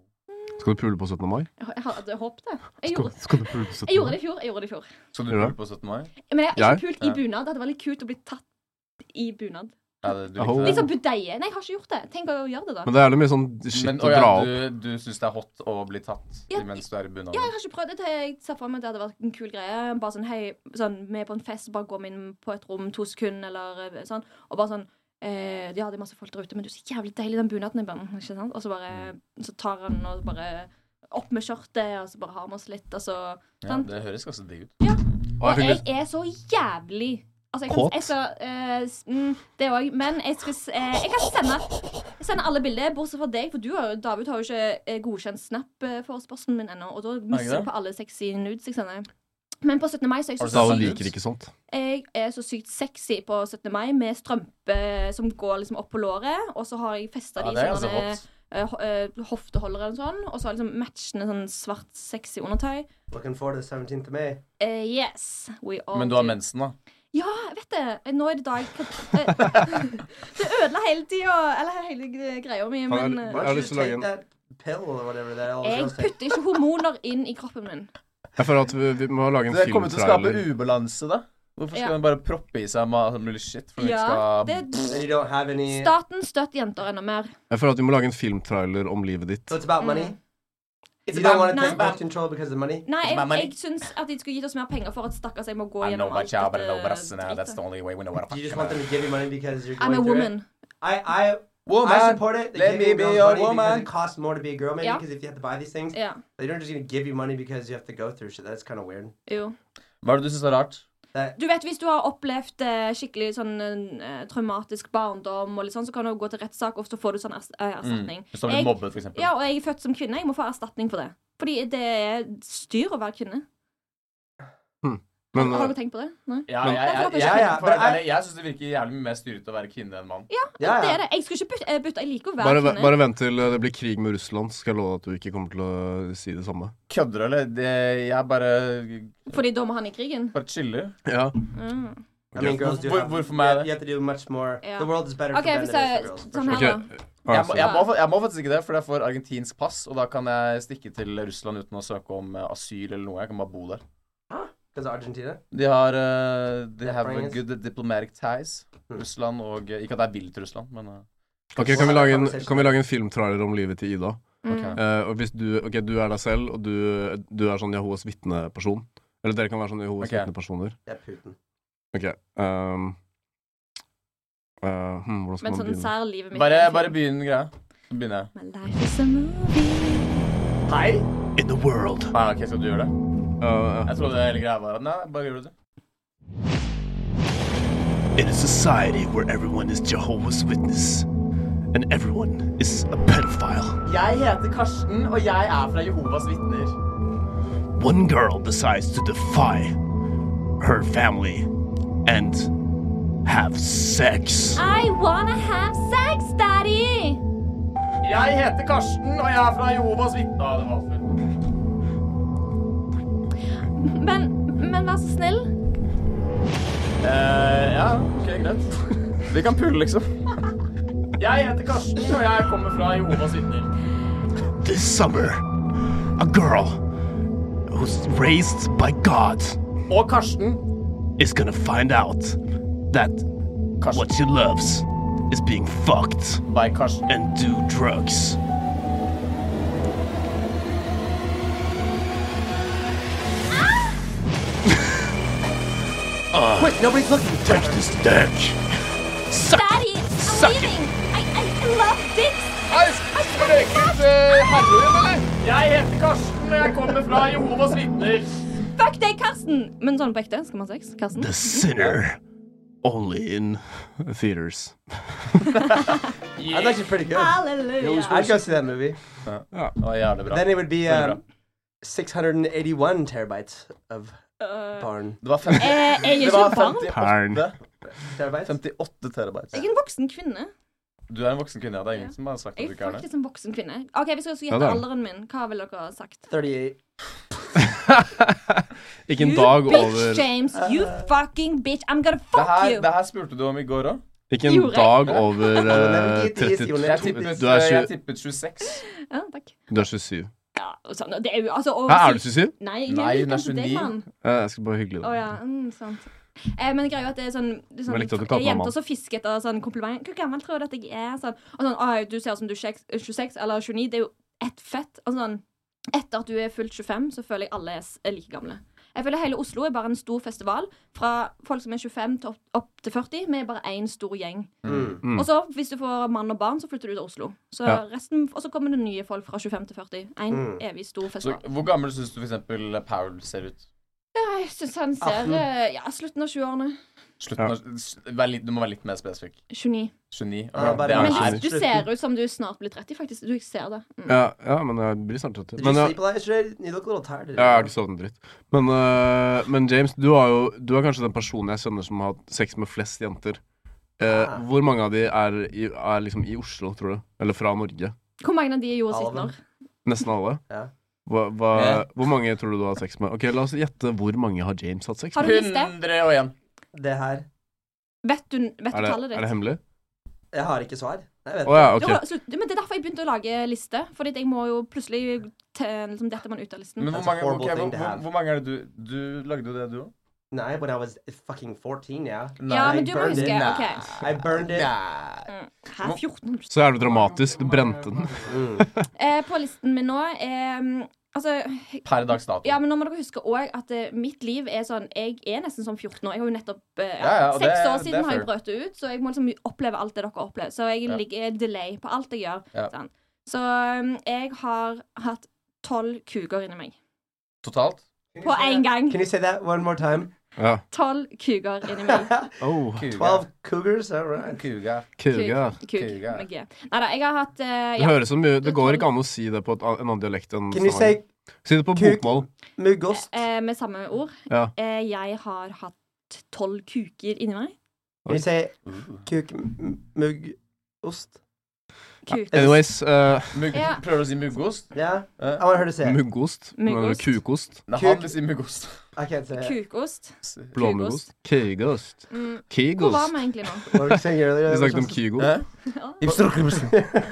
Speaker 1: Skal du pule på 17. mai?
Speaker 5: Jeg, jeg, hadde håpet det. Jeg
Speaker 1: Skal,
Speaker 5: gjorde,
Speaker 1: skal du pule på 17.
Speaker 5: jeg gjorde
Speaker 1: mai?
Speaker 5: det i fjor. Jeg gjorde det i fjor.
Speaker 6: Skal du
Speaker 1: Gjør
Speaker 6: pule
Speaker 1: det?
Speaker 6: på 17. mai?
Speaker 5: Men jeg har ikke
Speaker 1: Jeg?
Speaker 5: pult i
Speaker 6: Ja.
Speaker 5: bunad. Det hadde vært litt kult å bli tatt i bunad.
Speaker 6: Ja, det, du
Speaker 1: Oh.
Speaker 6: likte
Speaker 5: Litt
Speaker 6: det?
Speaker 5: sånn budeie. Nei, jeg har ikke gjort det. Tenk å gjøre det, da.
Speaker 1: Men det er jævlig mye sånn shit
Speaker 6: Men,
Speaker 1: å
Speaker 6: å
Speaker 1: dra
Speaker 6: ja,
Speaker 1: opp.
Speaker 6: du, du syns det er hot å bli tatt
Speaker 5: Ja,
Speaker 6: mens du er i
Speaker 5: Ja, jeg
Speaker 6: bunaden?
Speaker 5: har ikke prøvd det. Jeg ser for meg at det hadde vært en kul greie. Bare sånn, hei, sånn, vi er på en fest, bare gå inn på et rom to sekunder, eller eh, sånn. Og bare sånn eh, Ja, det er masse folk der ute, men du er så jævlig deilig i den bunaden. jeg bare, «Mm, Ikke sant? Og så
Speaker 6: Mm.
Speaker 5: bare Så tar han og bare opp med skjørtet, og så bare har vi oss litt, og så
Speaker 6: Ja,
Speaker 5: sant?
Speaker 6: det høres ganske digg ut.
Speaker 1: Å, jeg
Speaker 5: Og
Speaker 1: fikk
Speaker 5: jeg
Speaker 1: lyst.
Speaker 5: er så jævlig Altså, jeg kan,
Speaker 1: Kåt?
Speaker 5: jeg skal, eh, s- mm, det òg. Men jeg, skal, s- eh, jeg kan sende, sende alle bilder, bortsett fra deg. For du har, jo- David har jo ikke eh, godkjent snap-forespørselen min ennå. Og da mister
Speaker 6: det?
Speaker 5: du på alle sexy nudes jeg sender. Men på 17. mai så er jeg så
Speaker 6: Har du
Speaker 1: Dao
Speaker 6: Sånn
Speaker 5: sykt,
Speaker 6: ut.
Speaker 1: liker ikke sånt.
Speaker 5: jeg er så sykt sexy på 17. mai med strømpe som går liksom opp på låret. Og så har jeg festa
Speaker 6: Ja,
Speaker 5: de
Speaker 6: det er ganske
Speaker 5: sånne
Speaker 6: hot.
Speaker 5: eh, ho- eh, hofteholdere og sånn. Og så har jeg liksom matchende sånn svart, sexy undertøy.
Speaker 2: Looking forward to the 17th of May.
Speaker 5: Eh, yes, we all
Speaker 6: Men du har
Speaker 5: do.
Speaker 6: mensen, da.
Speaker 5: Ja, jeg vet det. Nå er det dag eh, Det ødela hele tida, eller hele greia mi,
Speaker 1: Han er-
Speaker 5: men
Speaker 1: Jeg
Speaker 2: Why
Speaker 1: har
Speaker 5: eh,
Speaker 2: don't you
Speaker 1: lyst til å lage
Speaker 2: take
Speaker 1: en-
Speaker 2: that pill or whatever that all
Speaker 5: jeg
Speaker 2: girls take?
Speaker 5: putter ikke hormoner inn i kroppen min.
Speaker 1: Jeg føler at vi, vi må lage en
Speaker 6: Det kommer til å skape
Speaker 1: filmtrailer.
Speaker 6: ubalanse, da. Hvorfor skal
Speaker 5: Ja.
Speaker 6: man bare proppe i seg ma- mulig shit? For ja,
Speaker 5: Ja,
Speaker 6: skal...
Speaker 5: det
Speaker 2: And you don't have any.
Speaker 5: Staten støtter jenter enda mer.
Speaker 1: Jeg føler at vi må lage en filmtrailer om livet ditt.
Speaker 2: So it's about money.
Speaker 5: Mm.
Speaker 2: you don't want to
Speaker 5: about-
Speaker 2: take back control because of money.
Speaker 5: Nei, jeg,
Speaker 6: It's my money.
Speaker 5: jeg syns at de skulle gitt oss mer penger for at stakkars jeg må gå
Speaker 6: I know
Speaker 5: gjennom
Speaker 6: my
Speaker 5: alt
Speaker 6: job, but I know
Speaker 5: dette
Speaker 6: better than that. That's the
Speaker 5: dritet.
Speaker 6: only way we know what
Speaker 2: Do you just
Speaker 6: fucking
Speaker 2: want them
Speaker 6: about.
Speaker 2: to give you money because you're going
Speaker 5: I'm a
Speaker 2: through it?
Speaker 5: woman.
Speaker 2: I I I
Speaker 6: Woman,
Speaker 2: support it. They
Speaker 6: let
Speaker 2: give
Speaker 6: me
Speaker 2: you
Speaker 6: be
Speaker 2: girls
Speaker 6: a
Speaker 2: money Because
Speaker 6: woman.
Speaker 2: it costs more to be a girl, maybe,
Speaker 5: Yeah.
Speaker 2: because if you have to buy these things,
Speaker 5: Ja.
Speaker 2: they're not just gonna give you money because you have to go through shit. That's kind of weird.
Speaker 5: Jo.
Speaker 6: Hva er det du syns er rart?
Speaker 2: That
Speaker 5: Du vet, Hvis du har opplevd eh, skikkelig sånn eh, traumatisk barndom, og litt sånn, så kan du gå til rettssak, og så får du sånn ers eh, erstatning.
Speaker 6: Hvis du har blitt
Speaker 5: Jeg-
Speaker 6: mobbet, for eksempel.
Speaker 5: Ja, og jeg er født som kvinne. Jeg må få erstatning for det. Fordi det er styr å være kvinne.
Speaker 1: Men
Speaker 5: Har
Speaker 1: uh,
Speaker 6: eh,
Speaker 5: dere tenkt på det? Nei?
Speaker 6: Ja,
Speaker 1: Men-
Speaker 6: jeg, jeg, jeg,
Speaker 5: Hvorfor
Speaker 6: jeg,
Speaker 5: ikke?
Speaker 2: Men jeg-
Speaker 6: jeg, jeg syns det virker jævlig mye mer styrete å være kvinne enn mann.
Speaker 2: yeah.
Speaker 5: Det er det. Jeg skulle ikke bytte. eh, bytte. Jeg liker å være
Speaker 1: bare, ve-
Speaker 5: kvinne.
Speaker 1: bare vent til uh, det blir krig med Russland, så skal jeg love at du ikke kommer til å si det samme.
Speaker 6: Kødder du, eller? Det, jeg bare,
Speaker 5: Fordi da må han i krigen.
Speaker 6: bare chiller.
Speaker 1: Ja.
Speaker 5: Mm.
Speaker 2: I mean, girls do.
Speaker 6: Hvor-
Speaker 2: have,
Speaker 6: hvorfor
Speaker 2: you,
Speaker 6: meg
Speaker 2: have, you have to do much more.
Speaker 5: Yeah.
Speaker 2: The world is better
Speaker 5: OK,
Speaker 2: for
Speaker 5: hvis
Speaker 2: men than it
Speaker 5: jeg
Speaker 2: is for girls.
Speaker 5: sånn
Speaker 1: Ok.
Speaker 5: her, da.
Speaker 1: Ja, altså.
Speaker 6: Jeg må, jeg, må, jeg må faktisk ikke det, for jeg får argentinsk pass, og da kan jeg stikke til Russland uten å søke om eh, asyl eller noe. Jeg kan bare bo der.
Speaker 2: Because Argentina.
Speaker 6: De har eh, They have a
Speaker 2: Bring us.
Speaker 6: good diplomatic ties.
Speaker 2: Mm.
Speaker 6: Russland og eh, Ikke at jeg vil til Russland, men eh,
Speaker 1: Ok, kan vi, lage en, kan vi lage en filmtrailer om livet til Ida?
Speaker 5: Mm.
Speaker 1: Eh, og hvis du, ok, du er deg selv, og du, du er sånn Jehovas vitneperson. Eller dere kan være sånn Jehovas
Speaker 6: Ok.
Speaker 1: vitnepersoner.
Speaker 2: Yeah, Putin.
Speaker 1: Ok. ehm, eh, hmm, hvordan skal
Speaker 5: Men
Speaker 1: man
Speaker 5: sånn
Speaker 1: begynne?
Speaker 5: sær livet mitt
Speaker 6: Bare,
Speaker 5: er en
Speaker 6: bare
Speaker 5: film.
Speaker 6: begynn greia. Så begynner jeg.
Speaker 5: My life is a movie.
Speaker 2: Hi.
Speaker 1: In the world.
Speaker 6: Nei, OK, skal du gjøre det? Jeg trodde hele greia var Nei, bare gjør du det.
Speaker 7: In a society where everyone is Jehovah's Witness and everyone is a pedophile,
Speaker 6: Jeg heter Karsten, og jeg er fra Jehovas vitner.
Speaker 7: one girl decides to defy her family and have sex.
Speaker 5: I wanna have sex, daddy!
Speaker 6: Jeg heter Karsten, og jeg er fra Jehovas vitner. Ja, det var fullt.
Speaker 5: Men, men vær så snill.
Speaker 6: Eh, ja, OK, greit. Vi kan pulle, liksom. Jeg heter Karsten, og jeg kommer fra Jehovas vitner.
Speaker 7: This summer, a girl who's raised by God
Speaker 6: Og Karsten.
Speaker 7: is gonna find out that what she loves is being fucked
Speaker 6: By Karsten.
Speaker 7: and do drugs.
Speaker 2: Quick, nobody's looking.
Speaker 7: Take this dick. Suck
Speaker 3: Daddy, I'm leaving! I, I I love dicks!
Speaker 6: Hei, skal dere ikke herren, eller? Jeg heter Karsten, og jeg kommer fra Jehovas vitner.
Speaker 5: Fuck deg, Karsten! Men sånn på ekte, skal man ha sex? Karsten?
Speaker 7: the sinner. Only in theaters.
Speaker 2: That's actually pretty good.
Speaker 5: Halleluja.
Speaker 2: I'd go see that movie.
Speaker 6: Det var jævlig bra.
Speaker 2: Then it would be
Speaker 6: Very
Speaker 2: um, 681 terabytes of
Speaker 5: Eh,
Speaker 2: barn.
Speaker 6: Det var 50,
Speaker 5: eh, jeg er
Speaker 6: det
Speaker 5: ikke
Speaker 6: var
Speaker 5: et barn.
Speaker 6: 58,
Speaker 2: Terabytes?
Speaker 6: 58 terabytes.
Speaker 5: Jeg er en voksen kvinne.
Speaker 6: Du er en voksen kvinne, ja. Det er ingen
Speaker 5: Ja.
Speaker 6: som har sagt at
Speaker 5: Jeg
Speaker 6: du
Speaker 5: er
Speaker 6: ikke er det.
Speaker 5: faktisk en voksen kvinne. OK, hvis jeg skulle
Speaker 1: Ja,
Speaker 5: gjette
Speaker 1: det er du.
Speaker 5: alderen min, hva ville dere ha sagt?
Speaker 2: 38.
Speaker 1: Ikke en
Speaker 5: You
Speaker 1: dag
Speaker 5: bitch,
Speaker 1: over
Speaker 5: James. You fucking bitch. I'm gonna
Speaker 6: Det
Speaker 5: fuck
Speaker 6: her,
Speaker 5: you.
Speaker 6: det her spurte du om i går òg.
Speaker 1: Ikke en
Speaker 5: Gjorde jeg?
Speaker 1: dag over
Speaker 6: er
Speaker 1: eh,
Speaker 2: Ikke is,
Speaker 1: 32
Speaker 2: Jonas.
Speaker 6: Jeg tippet, eh,
Speaker 1: Du er tjue-
Speaker 6: jeg tippet 26.
Speaker 5: Ja, takk.
Speaker 1: Du er 27.
Speaker 5: Ja, og sånn, og det er jo altså
Speaker 1: Hæ, er du 27?
Speaker 5: Nei, jeg
Speaker 6: Nei,
Speaker 5: liker
Speaker 6: hun er
Speaker 5: ikke deg,
Speaker 6: 29.
Speaker 5: mann.
Speaker 1: Eh, Jeg skal bare hygle
Speaker 5: Å
Speaker 1: deg.
Speaker 5: ja, mm, sant. Eh, men greia er jo at det er sånn, det er
Speaker 1: Men jeg likte at du
Speaker 5: sånn
Speaker 1: kalte meg mann.
Speaker 5: Jenter som fisker etter sånn kompliment. Hvor gammel tror du at jeg er? Sånn, og sånn, «Oi, du ser ut som du er 26 26 eller 29. Det er jo ett fett. Og sånn, etter at du er fylt 25, så føler jeg alle er s- er like gamle. Jeg føler hele Oslo er bare en stor festival. Fra folk som er 25 til opp, opp til 40. Vi er bare én stor gjeng.
Speaker 2: Mm.
Speaker 1: Mm.
Speaker 5: Og så, hvis du får mann og barn, så flytter du til Oslo. Så
Speaker 1: Ja.
Speaker 5: resten, og så kommer det nye folk fra 25 til 40. En
Speaker 2: Mm.
Speaker 5: evig stor
Speaker 6: Så
Speaker 5: festival.
Speaker 6: hvor gammel syns du f.eks. Powell ser ut?
Speaker 5: Ja, jeg syns han ser eh, ja, slutten av 20-årene.
Speaker 6: Slutten av, s- vær litt, du må være litt mer spesifikk.
Speaker 5: 29.
Speaker 6: 29.
Speaker 2: Ja,
Speaker 6: ok,
Speaker 2: bare-
Speaker 6: det
Speaker 5: Men
Speaker 6: er,
Speaker 5: du, du ser ut som du snart blir 30, faktisk. Du ser det. Mm.
Speaker 1: Ja, ja, men jeg blir snart 30.
Speaker 2: Did
Speaker 1: Men,
Speaker 2: you
Speaker 1: ja,
Speaker 2: sleep last night? You look a little tired.
Speaker 1: jeg
Speaker 6: Oh,
Speaker 1: har ikke sovnet en dritt. Men, eh, men James, du, har jo, du er kanskje den personen jeg kjenner som har hatt sex med flest jenter. Eh,
Speaker 2: Ah.
Speaker 1: Hvor mange av de er, i, er liksom i Oslo, tror du? Eller fra Norge?
Speaker 5: Hvor mange av de gjorde
Speaker 2: Alle
Speaker 5: sitt
Speaker 2: dem.
Speaker 5: når?
Speaker 1: Nesten alle?
Speaker 2: Ja.
Speaker 1: Hva, hva,
Speaker 6: Ja.
Speaker 1: Hvor mange tror du du har hatt sex med? Ok, La oss gjette hvor mange har James hatt sex
Speaker 5: Har
Speaker 1: med.
Speaker 5: du liste?
Speaker 6: 101.
Speaker 2: Det her
Speaker 5: Vet du, vet
Speaker 1: Er
Speaker 5: du
Speaker 1: det,
Speaker 5: tallet
Speaker 1: er det
Speaker 5: ditt?
Speaker 1: hemmelig? Ja.
Speaker 2: Jeg har ikke svar. Jeg vet
Speaker 1: Å ja,
Speaker 5: Du
Speaker 1: ok.
Speaker 5: har- slutt- men Det er derfor jeg begynte å lage liste. Fordi at jeg må jo plutselig te- liksom, dette man ut av listen.
Speaker 6: Men hvor
Speaker 2: That's a
Speaker 6: mange,
Speaker 2: horrible
Speaker 6: ok,
Speaker 2: thing
Speaker 6: hvor,
Speaker 2: to
Speaker 6: hvor,
Speaker 2: have.
Speaker 6: hvor mange er det du Du lagde jo det, du òg?
Speaker 2: Nei, when I was fucking 14, yeah.
Speaker 5: ja,
Speaker 2: I
Speaker 5: men du må
Speaker 2: burned
Speaker 5: huske
Speaker 2: it.
Speaker 5: OK.
Speaker 2: I burned it.
Speaker 5: Mm. Hæ, 14?
Speaker 1: Så er du dramatisk. Du brente den.
Speaker 2: Mm.
Speaker 5: Eh, på listen min nå eh, Altså
Speaker 6: Per dags dato.
Speaker 5: Ja, men nå må dere huske òg at eh, mitt liv er sånn Jeg er nesten som 14 år. Jeg har jo nettopp eh,
Speaker 6: Ja, ja, og det-
Speaker 5: Seks år
Speaker 6: det er
Speaker 5: siden har jeg
Speaker 6: fair.
Speaker 5: brøt det ut, så jeg må liksom oppleve alt det dere opplever. Så jeg
Speaker 6: Ja.
Speaker 5: ligger delay på alt jeg gjør.
Speaker 6: Ja.
Speaker 5: sånn. Så um, jeg har hatt tolv kuker inni meg.
Speaker 6: Totalt?
Speaker 5: På én gang.
Speaker 2: Can you say that one more time?
Speaker 1: Ja.
Speaker 5: Tolv kuker inni meg.
Speaker 1: Oh,
Speaker 6: Kuga.
Speaker 2: 12 cougars? All right.
Speaker 6: Kuga.
Speaker 1: kuga.
Speaker 5: Kuk.
Speaker 6: Kuker.
Speaker 5: Med G. Nei da, jeg har hatt eh,
Speaker 1: Det
Speaker 5: ja.
Speaker 1: høres så mye Det går ikke an å si det på et, an- en annen dialekt enn
Speaker 2: Can you say
Speaker 1: Si det på
Speaker 2: kuk?
Speaker 1: bokmål.
Speaker 2: muggost?
Speaker 5: eh, Med samme ord.
Speaker 1: Ja.
Speaker 5: Eh, jeg har hatt tolv kuker inni meg.
Speaker 2: Can you say
Speaker 5: Mm.
Speaker 2: kuk m- muggost?
Speaker 5: Kuker.
Speaker 1: Anyways, eh,
Speaker 6: Mugg,
Speaker 5: Ja.
Speaker 6: Prøver du å si muggost?
Speaker 2: Yeah?
Speaker 6: Eh,
Speaker 2: I want her to say it.
Speaker 1: muggost. Mener du
Speaker 5: Muggost.
Speaker 1: Kukost.
Speaker 6: Nei,
Speaker 2: Kuk.
Speaker 6: han vil si muggost.
Speaker 2: I can't say it.
Speaker 5: Kukost.
Speaker 1: Blåmuggost. Kigost.
Speaker 5: Mm. Hvor var
Speaker 1: Kigost.
Speaker 5: vi egentlig nå?
Speaker 2: What were you saying earlier?
Speaker 1: Vi snakket om Kygo.
Speaker 6: Hæ?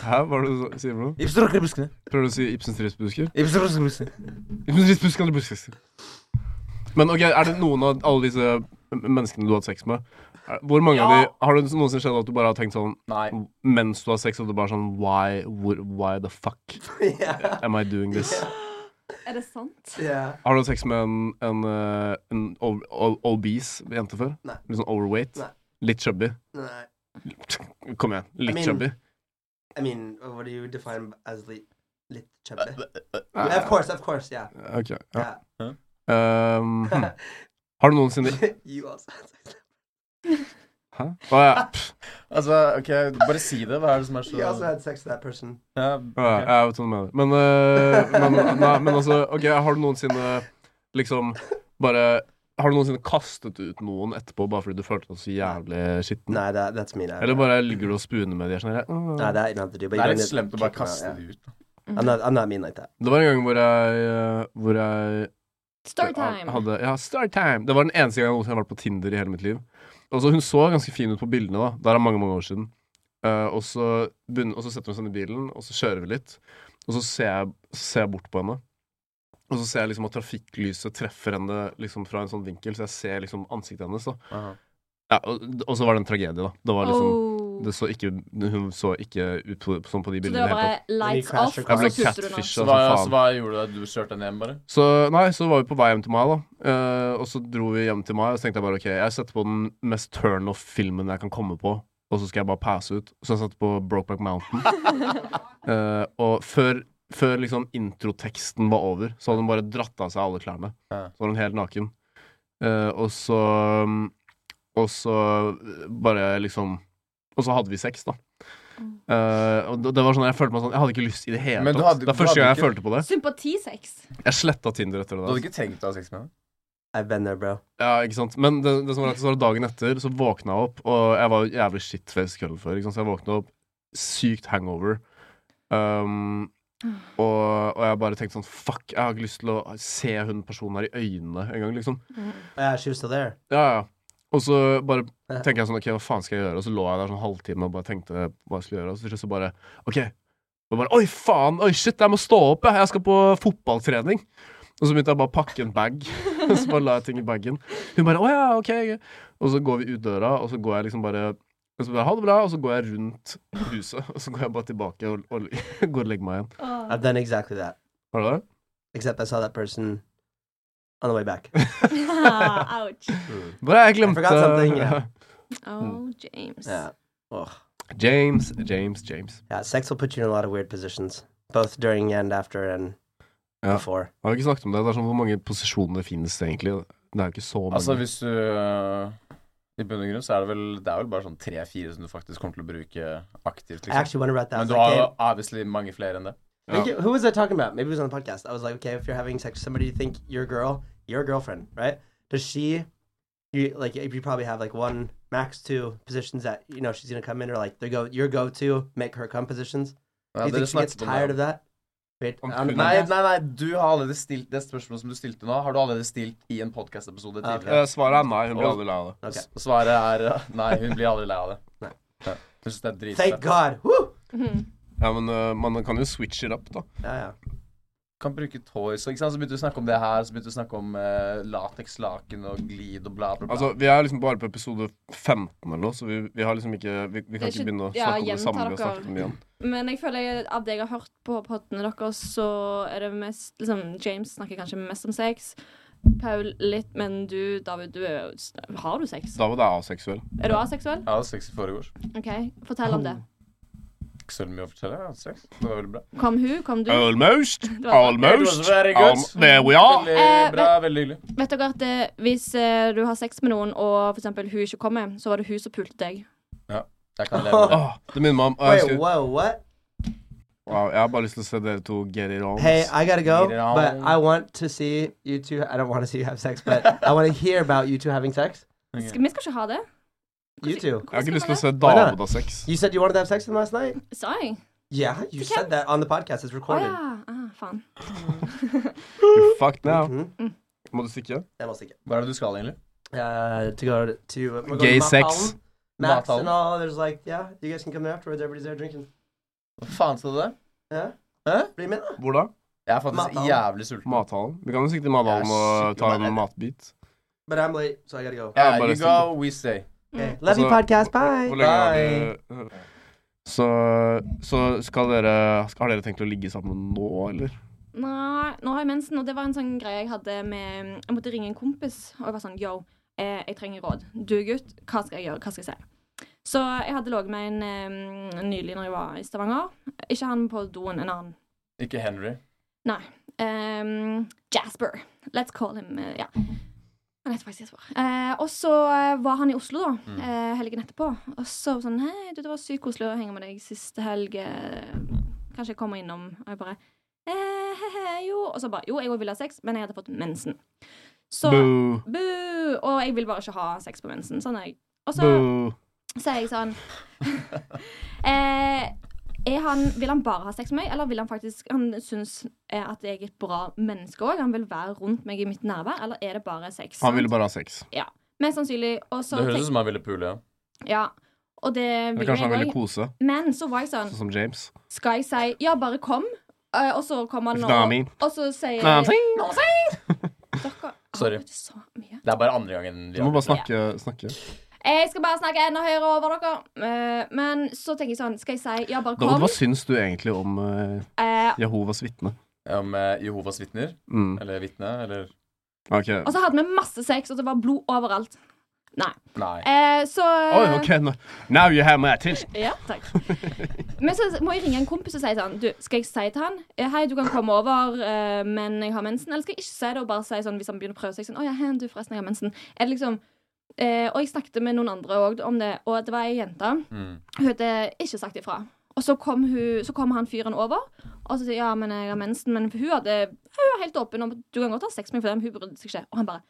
Speaker 1: Hæ, hva er det du sier for noe? Prøver du å si Ibsens ristbusker? Ibsens ristbusker eller busker? Men ok, er det noen av alle disse m- menneskene du har hatt sex med er- Hvor mange av de Har det noensinne skjedd at du bare har tenkt sånn
Speaker 6: Nei.
Speaker 1: mens du har sex, at du bare er sånn Why, hvor, why the fuck
Speaker 2: Yeah.
Speaker 1: am I doing this?
Speaker 5: Er det sant?
Speaker 2: Yeah.
Speaker 1: Har du hatt sex med en, en, eh, en o- o- obese jente før?
Speaker 2: Nei.
Speaker 1: Litt sånn overweight?
Speaker 2: Nei.
Speaker 1: Litt chubby?
Speaker 2: Nah.
Speaker 1: Kom igjen. Litt
Speaker 2: I mean-
Speaker 1: chubby.
Speaker 2: I mean, what do you define as lit, lit chubby? of course, of course, yeah.
Speaker 1: Ok. Ja.
Speaker 2: yeah.
Speaker 1: Um, hm. Har du noensinne
Speaker 2: you also.
Speaker 1: Hæ? Å, ja. Pff,
Speaker 6: Altså, OK, bare si det. Hva er det som er så
Speaker 2: You also had sex with that person.
Speaker 6: Ja,
Speaker 1: å, ja, jeg vet hva du mener. Men, eh, men, nei, men altså OK, har du noensinne liksom bare Har du noensinne kastet ut noen etterpå bare fordi du følte deg så jævlig skitten?
Speaker 2: Nah, that, that's me now.
Speaker 1: Eller bare ligger du og spooner med de her sånn her? «Åh».
Speaker 2: Nah, that you don't have to do. But you
Speaker 6: Det
Speaker 2: don't
Speaker 6: er litt
Speaker 2: have to
Speaker 6: slemt å bare
Speaker 2: kick them out,
Speaker 6: kaste
Speaker 2: yeah.
Speaker 6: det ut.
Speaker 2: I'm not. I'm not mean like that.
Speaker 1: Det var en gang hvor jeg, eh, hvor jeg
Speaker 5: Storytime.
Speaker 1: Hadde, ja, Startime. Det var den eneste gangen jeg noensinne har vært på Tinder i hele mitt liv. Og så Hun så ganske fin ut på bildene, da. Der er mange mange år siden. Eh, og, så begynner, og så setter hun seg inn i bilen, og så kjører vi litt. Og så ser jeg, så ser jeg bort på henne. Og så ser jeg liksom at trafikklyset treffer henne liksom fra en sånn vinkel, så jeg ser liksom ansiktet hennes. da
Speaker 6: Aha.
Speaker 1: ja, og, og så var det en tragedie, da. Det var liksom
Speaker 5: oh.
Speaker 1: Det så ikke, hun så ikke ut på, sånn på de
Speaker 5: Så det var
Speaker 1: bildene. i det hele tatt.
Speaker 5: bare lights
Speaker 2: crasher
Speaker 5: off,
Speaker 2: cars.
Speaker 5: og
Speaker 1: Jeg
Speaker 5: så
Speaker 1: ble
Speaker 5: sutter du nå.
Speaker 1: catfisha
Speaker 6: Så
Speaker 1: som
Speaker 6: hva,
Speaker 1: faen.
Speaker 6: så hva gjorde du da? Du kjørte henne hjem, bare?
Speaker 1: Så nei, så var vi på vei hjem til meg, da. Eh, og så dro vi hjem til meg, og så tenkte jeg bare OK, jeg setter på den mest turn-off-filmen jeg kan komme på, og så skal jeg bare passe ut. Så jeg satte på Brokeback Mountain. Eh, og før, før liksom introteksten var over, så hadde hun bare dratt av seg alle klærne.
Speaker 6: Ja.
Speaker 1: Så var hun helt naken. Eh, og så mm, Og så bare liksom Og så hadde vi sex, da. Eh, og det, det var sånn Jeg følte meg sånn Jeg hadde ikke lyst i det hele
Speaker 6: Men du
Speaker 1: tatt.
Speaker 6: hadde-
Speaker 1: det er
Speaker 6: du
Speaker 1: første gang
Speaker 6: hadde
Speaker 1: jeg følte på det.
Speaker 5: Sympatisex.
Speaker 1: Jeg sletta Tinder etter det. altså.
Speaker 6: Du
Speaker 1: der
Speaker 6: hadde ikke tenkt å ha sex med henne?
Speaker 2: I've been there, bro.
Speaker 1: Ja, ikke sant Men det, det som var rett, så var det dagen etter, så våkna jeg opp, og jeg var jo jævlig shitface kvelden før. Ikke sant? Så jeg våkna opp sykt hangover. Um, og, og jeg bare tenkte sånn Fuck, jeg har ikke lyst til å se hun personen her i øynene engang, liksom.
Speaker 2: Yeah, she was still there.
Speaker 1: Ja, ja. Og så bare tenker jeg sånn OK, hva faen skal jeg gjøre? Og så lå jeg der sånn halvtime og bare tenkte hva jeg skulle gjøre, og så til slutt så bare OK. Og bare, Oi, faen! Oi, shit, jeg må stå opp, jeg! Jeg skal på fotballtrening! Og så begynte jeg bare å pakke en bag. så bare la jeg ting i bagen. Hun bare Å ja, OK. Og så går vi ut døra, og så går jeg liksom bare og så bare, Ha det bra, og så går jeg rundt huset. Og så går jeg bare tilbake og, og går og legger meg igjen.
Speaker 2: I've done exactly that.
Speaker 1: Har du det?
Speaker 2: Except I saw that person on the way back.
Speaker 5: Ah, Ouch.
Speaker 1: Bare jeg glemte
Speaker 2: I forgot something, yeah.
Speaker 1: Mm.
Speaker 5: Oh, James.
Speaker 2: yeah. Ugh.
Speaker 1: James, James, James.
Speaker 2: Yeah, sex will put you in a lot of weird positions, both during and after and
Speaker 1: Yeah.
Speaker 2: before.
Speaker 1: Jeg har ikke snakket om det. Det er sånn Hvor mange posisjoner det finnes egentlig? Det er jo ikke så mange.
Speaker 6: Altså, hvis du øh, I bunn og grunn så er det vel Det er vel bare sånn tre-fire som du faktisk kommer til å bruke aktivt,
Speaker 2: I actually
Speaker 6: liksom.
Speaker 2: altså, wonder about that. I was
Speaker 6: Men du
Speaker 2: like,
Speaker 6: har jo
Speaker 2: hey,
Speaker 6: obviously mange flere enn det.
Speaker 2: Thank you. Who was I talking about? Maybe it was on the podcast. I was like, okay, if you're having sex with somebody, you think your girl, your girlfriend, right? Does she, you like, you probably have like one max two positions that you know she's gonna come in or like they go your go to make her come positions. Do
Speaker 6: Ja,
Speaker 2: you
Speaker 6: dere
Speaker 2: think she gets
Speaker 6: snakket om
Speaker 2: tired
Speaker 6: det.
Speaker 2: of that? Wait,
Speaker 1: Om
Speaker 2: on the
Speaker 1: hun-
Speaker 6: Nei,
Speaker 2: podcast?
Speaker 6: nei, nei, du har allerede stilt det spørsmålet som du stilte nå, har du allerede stilt i en podkast-episode
Speaker 2: Ah, ok.
Speaker 6: tidligere.
Speaker 1: Eh, svaret er nei. Hun
Speaker 6: blir
Speaker 1: aldri lei av det.
Speaker 2: Okay.
Speaker 6: S- Svaret er øh, nei, hun blir aldri lei av det.
Speaker 2: Nei.
Speaker 6: Ja. Hun syns det er
Speaker 2: Thank
Speaker 6: dritfett.
Speaker 2: God. Woo. Oh,
Speaker 5: Mhm.
Speaker 1: Ja, men øh, man kan jo switche it up, da.
Speaker 2: Yeah,
Speaker 6: Kan bruke toys og ikke sant? Så begynte du å snakke om det her, så begynte du å snakke om uh, latekslaken og glid og bla, bla, bla.
Speaker 1: Altså, Vi er liksom bare på episode 15 eller noe, så vi, vi har liksom ikke Vi, vi kan
Speaker 5: Det
Speaker 1: ikke
Speaker 5: er ikke-
Speaker 1: begynne å
Speaker 5: ja,
Speaker 1: snakke om det
Speaker 5: gjenta
Speaker 1: samme vi har
Speaker 5: dere.
Speaker 1: snakket om igjen.
Speaker 5: Men jeg føler jeg, av det jeg har hørt på poddene deres, så er det mest liksom, James snakker kanskje mest om sex. Paul litt, men du, David, du er, jo- har du sex?
Speaker 1: David er aseksuell.
Speaker 5: Er du aseksuell?
Speaker 6: Jeg hadde sex i forgårs.
Speaker 5: OK, fortell om det.
Speaker 6: Ikke så mye å fortelle. Jeg hadde sex. Det var veldig bra.
Speaker 5: Kom hun, kom du.
Speaker 1: Almost.
Speaker 5: var-
Speaker 6: It was very good.
Speaker 1: um, there we are.
Speaker 5: Eh,
Speaker 6: Veldig bra, veldig hyggelig.
Speaker 5: Vet dere at eh, hvis eh, du har sex med noen, og for eksempel hun ikke kommer, så var det hun som pulte deg.
Speaker 6: Jeg kan leve med det.
Speaker 1: Åh, Ah, det minner
Speaker 6: Oh,
Speaker 1: meg om jeg,
Speaker 2: yeah. Wait,
Speaker 1: husker,
Speaker 2: whoa, what?
Speaker 1: wow, jeg har bare lyst til å se dere to get it on.
Speaker 2: Hey, I gotta go,
Speaker 6: Need it all.
Speaker 2: but I want to see you two. I don't want to see you have sex, but I want to hear about you two having sex.
Speaker 5: Skal, vi skal ikke ha det.
Speaker 2: You two.
Speaker 1: jeg har ikke lyst til å se
Speaker 2: Why not?
Speaker 1: David ha sex.
Speaker 2: You said you wanted to have sex with him last night.
Speaker 5: Sa jeg?
Speaker 2: Yeah, you
Speaker 5: can't-
Speaker 2: said that on the podcast. It's
Speaker 5: Å
Speaker 2: recorded.
Speaker 5: ja. Ah, faen.
Speaker 1: You're fucked now.
Speaker 2: Mhm.
Speaker 1: Må du stikke?
Speaker 2: Det må stikke.
Speaker 6: Hva er det du skal, egentlig?
Speaker 2: Uh, to go to, to we're going to
Speaker 1: Gay
Speaker 2: Matt
Speaker 1: sex.
Speaker 2: Allen. Max
Speaker 6: Matt Allen.
Speaker 2: and all. There's like, yeah, you guys can come there afterwards. Everybody's there drinking.
Speaker 6: Hva faen sa du det?
Speaker 2: Yeah.
Speaker 6: Hæ?
Speaker 2: Bli med, da.
Speaker 1: Hvor da?
Speaker 6: Jeg er faktisk
Speaker 2: Mathallen.
Speaker 6: jævlig sulten.
Speaker 1: Mathallen. Vi kan jo stikke til Mathallen
Speaker 6: Jeg er
Speaker 1: og ta
Speaker 6: skikkelig
Speaker 1: en matbit.
Speaker 2: But I'm late, so I gotta go.
Speaker 1: Jeg er
Speaker 6: Yeah,
Speaker 1: bare
Speaker 6: you go, we stay.
Speaker 1: Mm.
Speaker 2: Okay. Love you,
Speaker 1: Altså,
Speaker 2: podcast.
Speaker 1: hvor- Hvor
Speaker 2: Bye.
Speaker 1: lenge har dere så, så skal dere skal- Har dere tenkt å ligge sammen nå, eller?
Speaker 5: Nei, nå har jeg mensen, og det var en sånn greie jeg hadde med Jeg måtte ringe en kompis, og jeg var sånn Yo, eh, jeg trenger råd. Du, gutt, hva skal jeg gjøre? Hva skal jeg si? Så jeg hadde ligget med en eh, nylig når jeg var i Stavanger. Ikke han på doen, en annen.
Speaker 6: Ikke Henry.
Speaker 5: Nei. Ehm, Jasper. Let's call him eh, Ja. Han heter faktisk Jasper. Eh, og så eh, var han i Oslo, da,
Speaker 1: Mm.
Speaker 5: eh, helgen etterpå. Og så var sånn Hei, du, det var sykt koselig å henge med deg siste helg. eh, Kanskje jeg kommer innom. Og jeg bare eh, hehe, Jo. Og så bare Jo, jeg òg ville ha sex, men jeg hadde fått mensen. Så
Speaker 1: Boo.
Speaker 5: Boo! Og jeg vil bare ikke ha sex på mensen. Sånn er jeg. Og så
Speaker 1: Boo.
Speaker 5: så er jeg sånn eh, er han, Vil han bare ha sex med meg, eller vil han faktisk Han synes eh, at jeg er et bra menneske òg? Han vil være rundt meg i mitt nærvær, eller er det bare sex?
Speaker 1: Han ville bare ha sex.
Speaker 5: Mest sannsynlig. Og så
Speaker 6: Det høres ut
Speaker 5: tenk-
Speaker 6: som han ville pule, ja.
Speaker 5: Ja. Og det
Speaker 1: Eller
Speaker 5: vil
Speaker 1: kanskje han
Speaker 5: jeg
Speaker 1: ville
Speaker 5: òg.
Speaker 1: kose,
Speaker 5: Men så var jeg sånn
Speaker 1: sånn som James.
Speaker 5: Skal jeg si ja, bare kom? Eh, og så kommer han
Speaker 1: If not me.
Speaker 5: og, og så sier
Speaker 1: Not me.
Speaker 5: Not me. Dere
Speaker 6: Sorry.
Speaker 5: Sorry. Så mye.
Speaker 6: Det er bare andre gangen vi
Speaker 1: Du må
Speaker 6: har
Speaker 1: bare snakke. snakke.
Speaker 5: Jeg skal bare snakke enda høyere over dere. Eh, men så tenker jeg sånn, skal jeg si ja, bare
Speaker 1: David,
Speaker 5: kom?
Speaker 1: hva syns du egentlig om eh,
Speaker 5: Eh,
Speaker 1: Jehovas vitne?
Speaker 6: Om eh, Jehovas vitner?
Speaker 1: Mm.
Speaker 6: Eller vitne? Eller
Speaker 1: OK.
Speaker 5: og så hadde vi masse sex, og det var blod overalt. Nei.
Speaker 6: Nei.
Speaker 5: Eh, så
Speaker 1: Oi, OK, nå- now you have my attention.
Speaker 5: Ja, takk. Men så må jeg ringe en kompis og si til han Du, skal jeg si til han eh, Hei, du kan komme over, eh, men jeg har mensen. Eller skal jeg ikke si det og bare si sånn hvis han begynner å prøve seg sånn Å ja, hen, du, forresten, jeg har mensen. Eller liksom eh, Og jeg snakket med noen andre òg om det, og det var ei jente.
Speaker 6: Mm.
Speaker 5: Hun hadde ikke sagt ifra. Og så kom, hun, så kom han fyren over, og så sier ja, men jeg har mensen. Men hun, hadde, hun var helt åpen om at du kan godt ha sex med meg, for det, men hun brydde seg ikke. Og han bare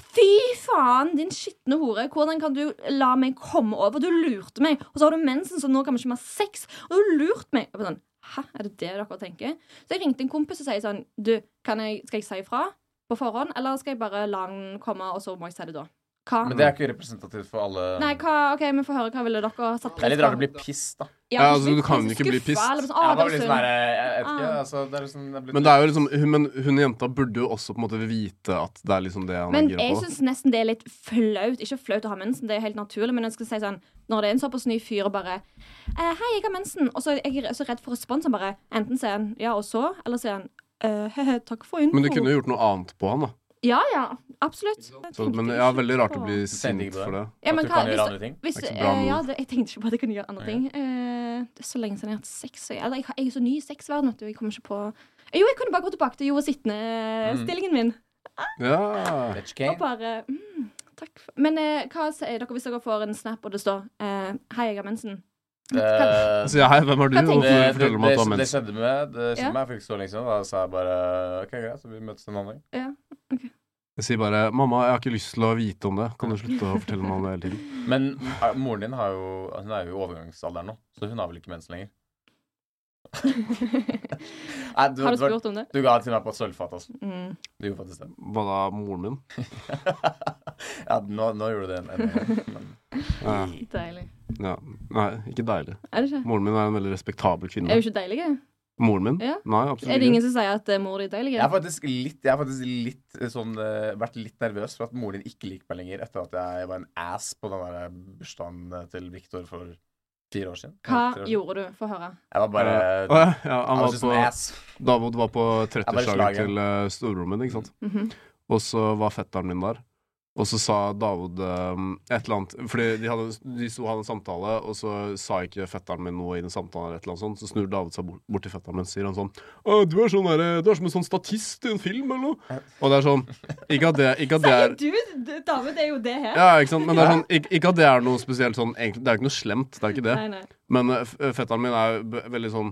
Speaker 5: Fy faen, din skitne hore. Hvordan kan du la meg komme over? Du lurte meg. Og så har du mensen, så nå kan vi ikke mer sex. Og du lurte meg. Jeg bare sånn, Hæ, er det det dere tenker? Så jeg ringte en kompis og sier sånn Du, kan jeg, skal jeg si ifra på forhånd, eller skal jeg bare la han komme, og så må jeg si det da? Hva?
Speaker 6: Men det er ikke representativt for alle.
Speaker 5: Nei, hva, OK, vi får høre. Hva ville dere satt
Speaker 6: Det er litt rart å bli piss, da.
Speaker 1: Ja, altså, du kan jo ikke bli
Speaker 5: skuffa,
Speaker 1: pissed.
Speaker 5: eller bare
Speaker 6: Jeg
Speaker 5: Sånn,
Speaker 6: var
Speaker 5: «Å, det var
Speaker 6: litt sånn
Speaker 5: synd». Ah.
Speaker 6: her, jeg vet ikke, altså, det er liksom, det er blitt
Speaker 1: Men det er jo liksom hun, men hun jenta burde jo også på en måte vite at det er liksom det han
Speaker 5: men
Speaker 1: gira
Speaker 5: jeg
Speaker 1: på.
Speaker 5: syns nesten det er litt flaut. Ikke flaut å ha mensen, det er helt naturlig, men jeg skal si sånn når det er en såpass ny fyr og bare eh, 'Hei, jeg har mensen.' Og så er jeg så redd for respons. Han bare enten sier han 'ja, og så', eller sier han eh, 'he-he, takk for info'.
Speaker 1: Men du kunne jo gjort noe annet på han, da.
Speaker 5: Ja, ja, absolutt. Jeg
Speaker 1: Så,
Speaker 5: tenkte
Speaker 1: men
Speaker 5: ikke
Speaker 1: ja, veldig rart å
Speaker 5: på-
Speaker 1: bli
Speaker 6: tenkte
Speaker 1: sint
Speaker 6: ikke på
Speaker 1: for det.
Speaker 5: ja, men
Speaker 6: at du
Speaker 5: hva,
Speaker 6: kan gjøre
Speaker 5: hvis,
Speaker 6: andre ting.
Speaker 5: hvis,
Speaker 1: Det er ikke så bra
Speaker 5: eh, ja,
Speaker 1: move.
Speaker 5: det, Jeg tenkte ikke på at jeg kunne gjøre andre ting. Eh, det er så lenge siden jeg har hatt sex. Jeg, eller, jeg, har- jeg er så ny i sexverdenen at jeg kommer ikke på Jo, jeg kunne bare gå tilbake til jo og
Speaker 1: Mm.
Speaker 5: sittende-stillingen min.
Speaker 1: Ja.
Speaker 6: Bitch
Speaker 5: Og
Speaker 6: game.
Speaker 5: bare mm, Takk for Men eh, hva sier dere hvis dere får en snap og det står eh, 'Hei, jeg har mensen'?
Speaker 6: Eh,
Speaker 1: Så Altså, ja, hei, hvem er du?
Speaker 5: Hva
Speaker 1: Hvorfor
Speaker 5: tenker du?
Speaker 6: det, det,
Speaker 1: forteller du meg
Speaker 6: det,
Speaker 1: at du har
Speaker 6: det
Speaker 1: mens?
Speaker 6: skjedde med Det skjedde
Speaker 5: Ja.
Speaker 6: med meg for ikke så lenge siden. Da sa jeg bare OK, greit, så vi møtes en annen dag.
Speaker 1: Jeg sier bare 'mamma, jeg har ikke lyst til å vite om det'. Kan du slutte å fortelle meg om det hele tiden?
Speaker 6: Men eh, moren din har jo, hun er jo i overgangsalderen nå, så hun har vel ikke mens lenger? Nei,
Speaker 5: har du
Speaker 6: du, du, var-
Speaker 5: spurt om det?
Speaker 6: du ga det til meg på et sølvfat, altså.
Speaker 5: Mm.
Speaker 6: Du gjorde faktisk det.
Speaker 1: Hva da, moren min?
Speaker 6: ja, nå, nå gjorde du det en, en, gang, men
Speaker 1: Ja.
Speaker 5: Deilig.
Speaker 1: ja. Nei, ikke deilig.
Speaker 5: Er det ikke?
Speaker 1: Moren min er en veldig respektabel
Speaker 5: Er
Speaker 1: kvinne.
Speaker 5: du ikke deilig?
Speaker 1: Moren min?
Speaker 5: Ja.
Speaker 1: Nei, absolutt
Speaker 5: Er det
Speaker 1: ikke.
Speaker 5: ingen som sier at eh, mor di er deilig?
Speaker 6: Jeg har faktisk litt, jeg har faktisk litt eh, sånn, eh, vært litt nervøs for at moren din ikke liker meg lenger etter at jeg var en ass på den der bursdagen eh, til Victor for fire år siden.
Speaker 5: Hva
Speaker 6: Tre år siden.
Speaker 5: gjorde du? Få høre.
Speaker 6: Jeg var bare
Speaker 1: Ja. Å, ja, ja,
Speaker 6: I
Speaker 1: han
Speaker 6: was
Speaker 1: var
Speaker 6: just an
Speaker 1: på,
Speaker 6: ass.
Speaker 1: David var på
Speaker 6: Jeg bare
Speaker 1: 30-årsdagen
Speaker 6: slager.
Speaker 1: til uh, storebroren min, ikke sant.
Speaker 5: Mhm.
Speaker 1: Og så var fetteren min der. Og så sa David um, et eller annet Fordi de, hadde, de sto og hadde en samtale, og så sa ikke fetteren min noe i den samtalen. eller et eller annet sånt Så snur David seg bort, bort til fetteren min og sier han sånn «Å, du er, sånn derre- du er som en sånn statist i en film, eller noe. Og det er sånn Ikke at det, ikke at det er
Speaker 5: Sier du? David er jo det her.
Speaker 1: ja, ikke sant? Men det er sånn, ikke, ikke at det er noe spesielt sånn egentlig, Det er jo ikke noe slemt. Det er ikke det.
Speaker 5: Nei, nei.
Speaker 1: Men eh, f- fetteren min er jo b- veldig sånn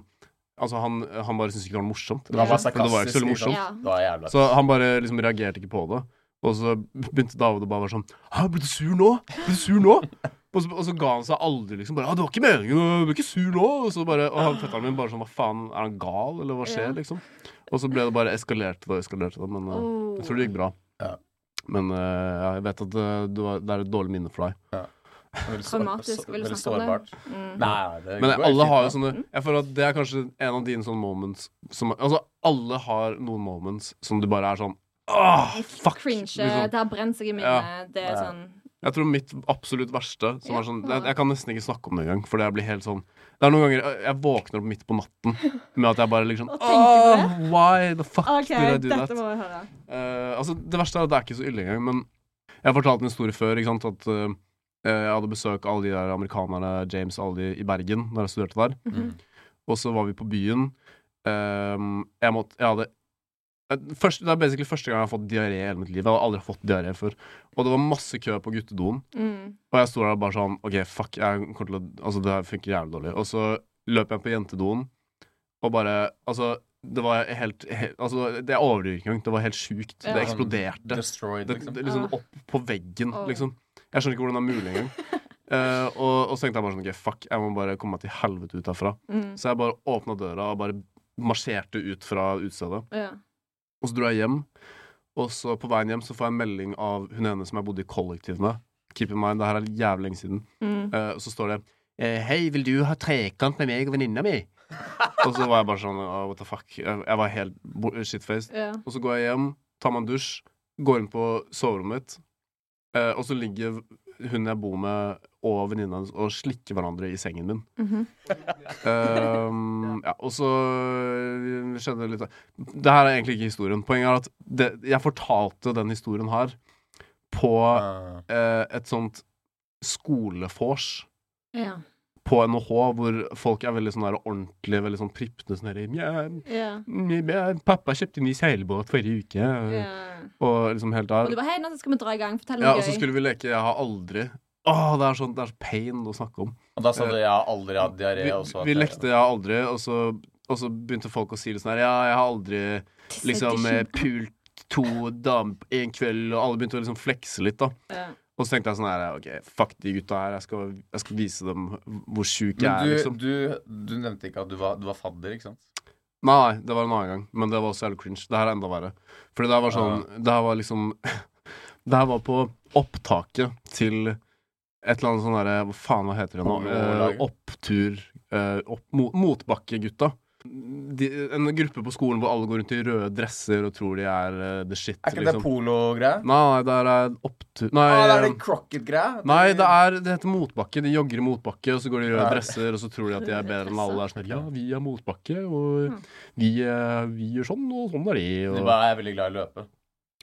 Speaker 1: Altså, han, han bare syntes ikke det var morsomt.
Speaker 6: Det var bare
Speaker 1: For det var ikke så veldig
Speaker 6: sarkastisk.
Speaker 1: morsomt.
Speaker 5: Ja.
Speaker 6: Det var jævla
Speaker 1: Så han bare liksom reagerte ikke på det. Og så begynte David å bare være sånn Hæ, ble du sur nå? Ble du sur nå? Og så, og så ga han seg aldri liksom bare «Ja, 'Det var ikke meningen, du ble ikke sur nå.' Og så bare, og han, fetteren min bare sånn 'Hva faen, er han gal, eller hva skjer?'
Speaker 5: Ja.
Speaker 1: liksom. Og så ble det bare eskalerte det og eskalerte det, men eh, jeg tror det gikk bra.
Speaker 6: Ja.
Speaker 1: Men eh, ja, jeg vet at eh, du har- det er et dårlig minne for deg.
Speaker 6: veldig så-
Speaker 5: Traumatisk,
Speaker 6: så-
Speaker 5: vil du
Speaker 6: veldig
Speaker 5: snakke om det?
Speaker 6: sårbart.
Speaker 5: Mm.
Speaker 6: Nei, det
Speaker 1: Men
Speaker 6: går
Speaker 1: alle
Speaker 6: fint,
Speaker 1: har jo sånn-
Speaker 6: da.
Speaker 1: sånne Jeg føler at det er kanskje en av dine sånne moments som Altså, alle har noen moments som du bare er sånn Åh, fuck!
Speaker 5: Cringe.
Speaker 1: liksom.
Speaker 5: Det har brent seg i minnet.
Speaker 1: Ja.
Speaker 5: Det er
Speaker 6: Ja.
Speaker 5: sånn
Speaker 1: Jeg tror mitt absolutt verste som
Speaker 5: Ja.
Speaker 1: er sånn, jeg, jeg kan nesten ikke snakke om det engang. For jeg blir helt sånn Det er noen ganger jeg- jeg våkner opp midt på natten med at jeg bare liksom
Speaker 5: Og tenker på
Speaker 1: «Åh, Why the fuck
Speaker 5: OK,
Speaker 1: did I do
Speaker 5: dette
Speaker 1: that?
Speaker 5: må vi høre.
Speaker 1: Eh, altså, det verste er at det er ikke så ille engang, men jeg har fortalt en historie før, ikke sant, at eh, jeg hadde besøk av alle de der amerikanerne, James, alle de i Bergen, da jeg studerte der.
Speaker 6: Mhm.
Speaker 1: Og så var vi på byen. Ehm, jeg måtte Jeg hadde eh, først, Det er basically første gang jeg har fått diaré i hele mitt liv. Jeg har aldri fått diaré før. Og det var masse kø på guttedoen.
Speaker 5: Mm.
Speaker 1: Og jeg sto der og bare sånn OK, fuck, jeg kommer til å Altså, det her funker jævlig dårlig. Og så løp jeg på jentedoen, og bare Altså, det var helt, he- Altså, det jeg overdriver ikke engang. Det var helt sjukt.
Speaker 5: Ja.
Speaker 1: Det eksploderte.
Speaker 6: Destroyed,
Speaker 1: Det,
Speaker 6: liksom.
Speaker 1: det, liksom
Speaker 5: Ah.
Speaker 1: opp på veggen,
Speaker 5: Åh.
Speaker 1: liksom. Jeg skjønner ikke hvordan det er mulig engang. Eh, og, og så tenkte jeg bare sånn OK, fuck, jeg må bare komme meg til helvete ut herfra.
Speaker 5: Mm.
Speaker 1: Så jeg bare åpna døra og bare marsjerte ut fra utestedet.
Speaker 5: Ja.
Speaker 1: Og så dro jeg hjem. Og så på veien hjem så får jeg en melding av hun ene som jeg bodde i kollektiv med. Keep in mind, det her er jævlig lenge siden.
Speaker 5: Mm.
Speaker 1: Eh, og så står det eh, 'Hei, vil du ha trekant med meg og venninna mi?' og så var jeg bare sånn «Åh, What the fuck? Jeg, jeg var helt bo- shitfaced.
Speaker 5: Ja.
Speaker 1: Og så går jeg hjem, tar meg en dusj, går inn på soverommet mitt, eh, og så ligger hun jeg bor med og venninna hennes og slikke hverandre i sengen min.
Speaker 5: Mhm.
Speaker 1: Ehm, ja, og så skjedde det litt Det her er egentlig ikke historien. Poenget er at det, jeg fortalte den historien her på
Speaker 6: Ah.
Speaker 1: eh, et sånt skolefors
Speaker 5: Ja.
Speaker 1: på NHH, hvor folk er veldig sånn der ordentlig, veldig sånn prippende sånn der, «Mjau,
Speaker 5: Ja.
Speaker 1: mjau, Pappa kjøpte ny seilbåt forrige uke.
Speaker 5: ja.
Speaker 1: Og liksom helt
Speaker 5: Og
Speaker 1: der.
Speaker 5: du bare Hei, nå skal vi dra i gang. Fortell
Speaker 1: Ja,
Speaker 5: noe
Speaker 1: og så skulle vi leke 'Jeg har aldri'. Åh, det er sånn, det er så pain å snakke om.
Speaker 6: Og da sa du 'jeg har aldri hatt diaré'.
Speaker 1: Vi,
Speaker 6: og så at
Speaker 1: vi
Speaker 6: jeg-
Speaker 1: lekte 'Jeg har aldri', og så, og så begynte folk å si litt sånn her 'Ja, jeg har aldri liksom eh, pult to damer på én kveld', og alle begynte å liksom flekse litt, da.
Speaker 5: Ja.
Speaker 1: Og så tenkte jeg sånn her 'OK, fuck de gutta her, jeg skal, jeg skal vise dem hvor sjuk jeg er',
Speaker 6: Men du,
Speaker 1: liksom.
Speaker 6: du, du nevnte ikke at du var, du var fadder, ikke sant?
Speaker 1: Nei, det var en annen gang, men det var også jævlig cringe. Det her er enda verre. Fordi det her var sånn Det her var liksom Det her var på opptaket til et eller annet sånn derre Hva faen, hva heter det nå? Eh,
Speaker 6: Pololag.
Speaker 1: opptur eh, opp, mo- Motbakkegutta. De, en gruppe på skolen hvor alle går rundt i røde dresser og tror de er eh, the shit,
Speaker 6: Er ikke det
Speaker 1: liksom.
Speaker 6: polo-greie?
Speaker 1: Nei, nei, det her er opptur Nei,
Speaker 6: Ah, det er
Speaker 1: eh,
Speaker 6: det crocket-greie?
Speaker 1: Nei, det, er, det heter motbakke. De jogger i motbakke, og så går de i røde
Speaker 6: Ja.
Speaker 1: dresser, og så tror de at de er bedre enn alle. Er sånn, ja, vi er motbakke, og
Speaker 5: Mm.
Speaker 1: vi, eh, vi gjør sånn, og sånn er de.
Speaker 6: Du
Speaker 1: Og...
Speaker 6: bare er veldig glad i å løpe.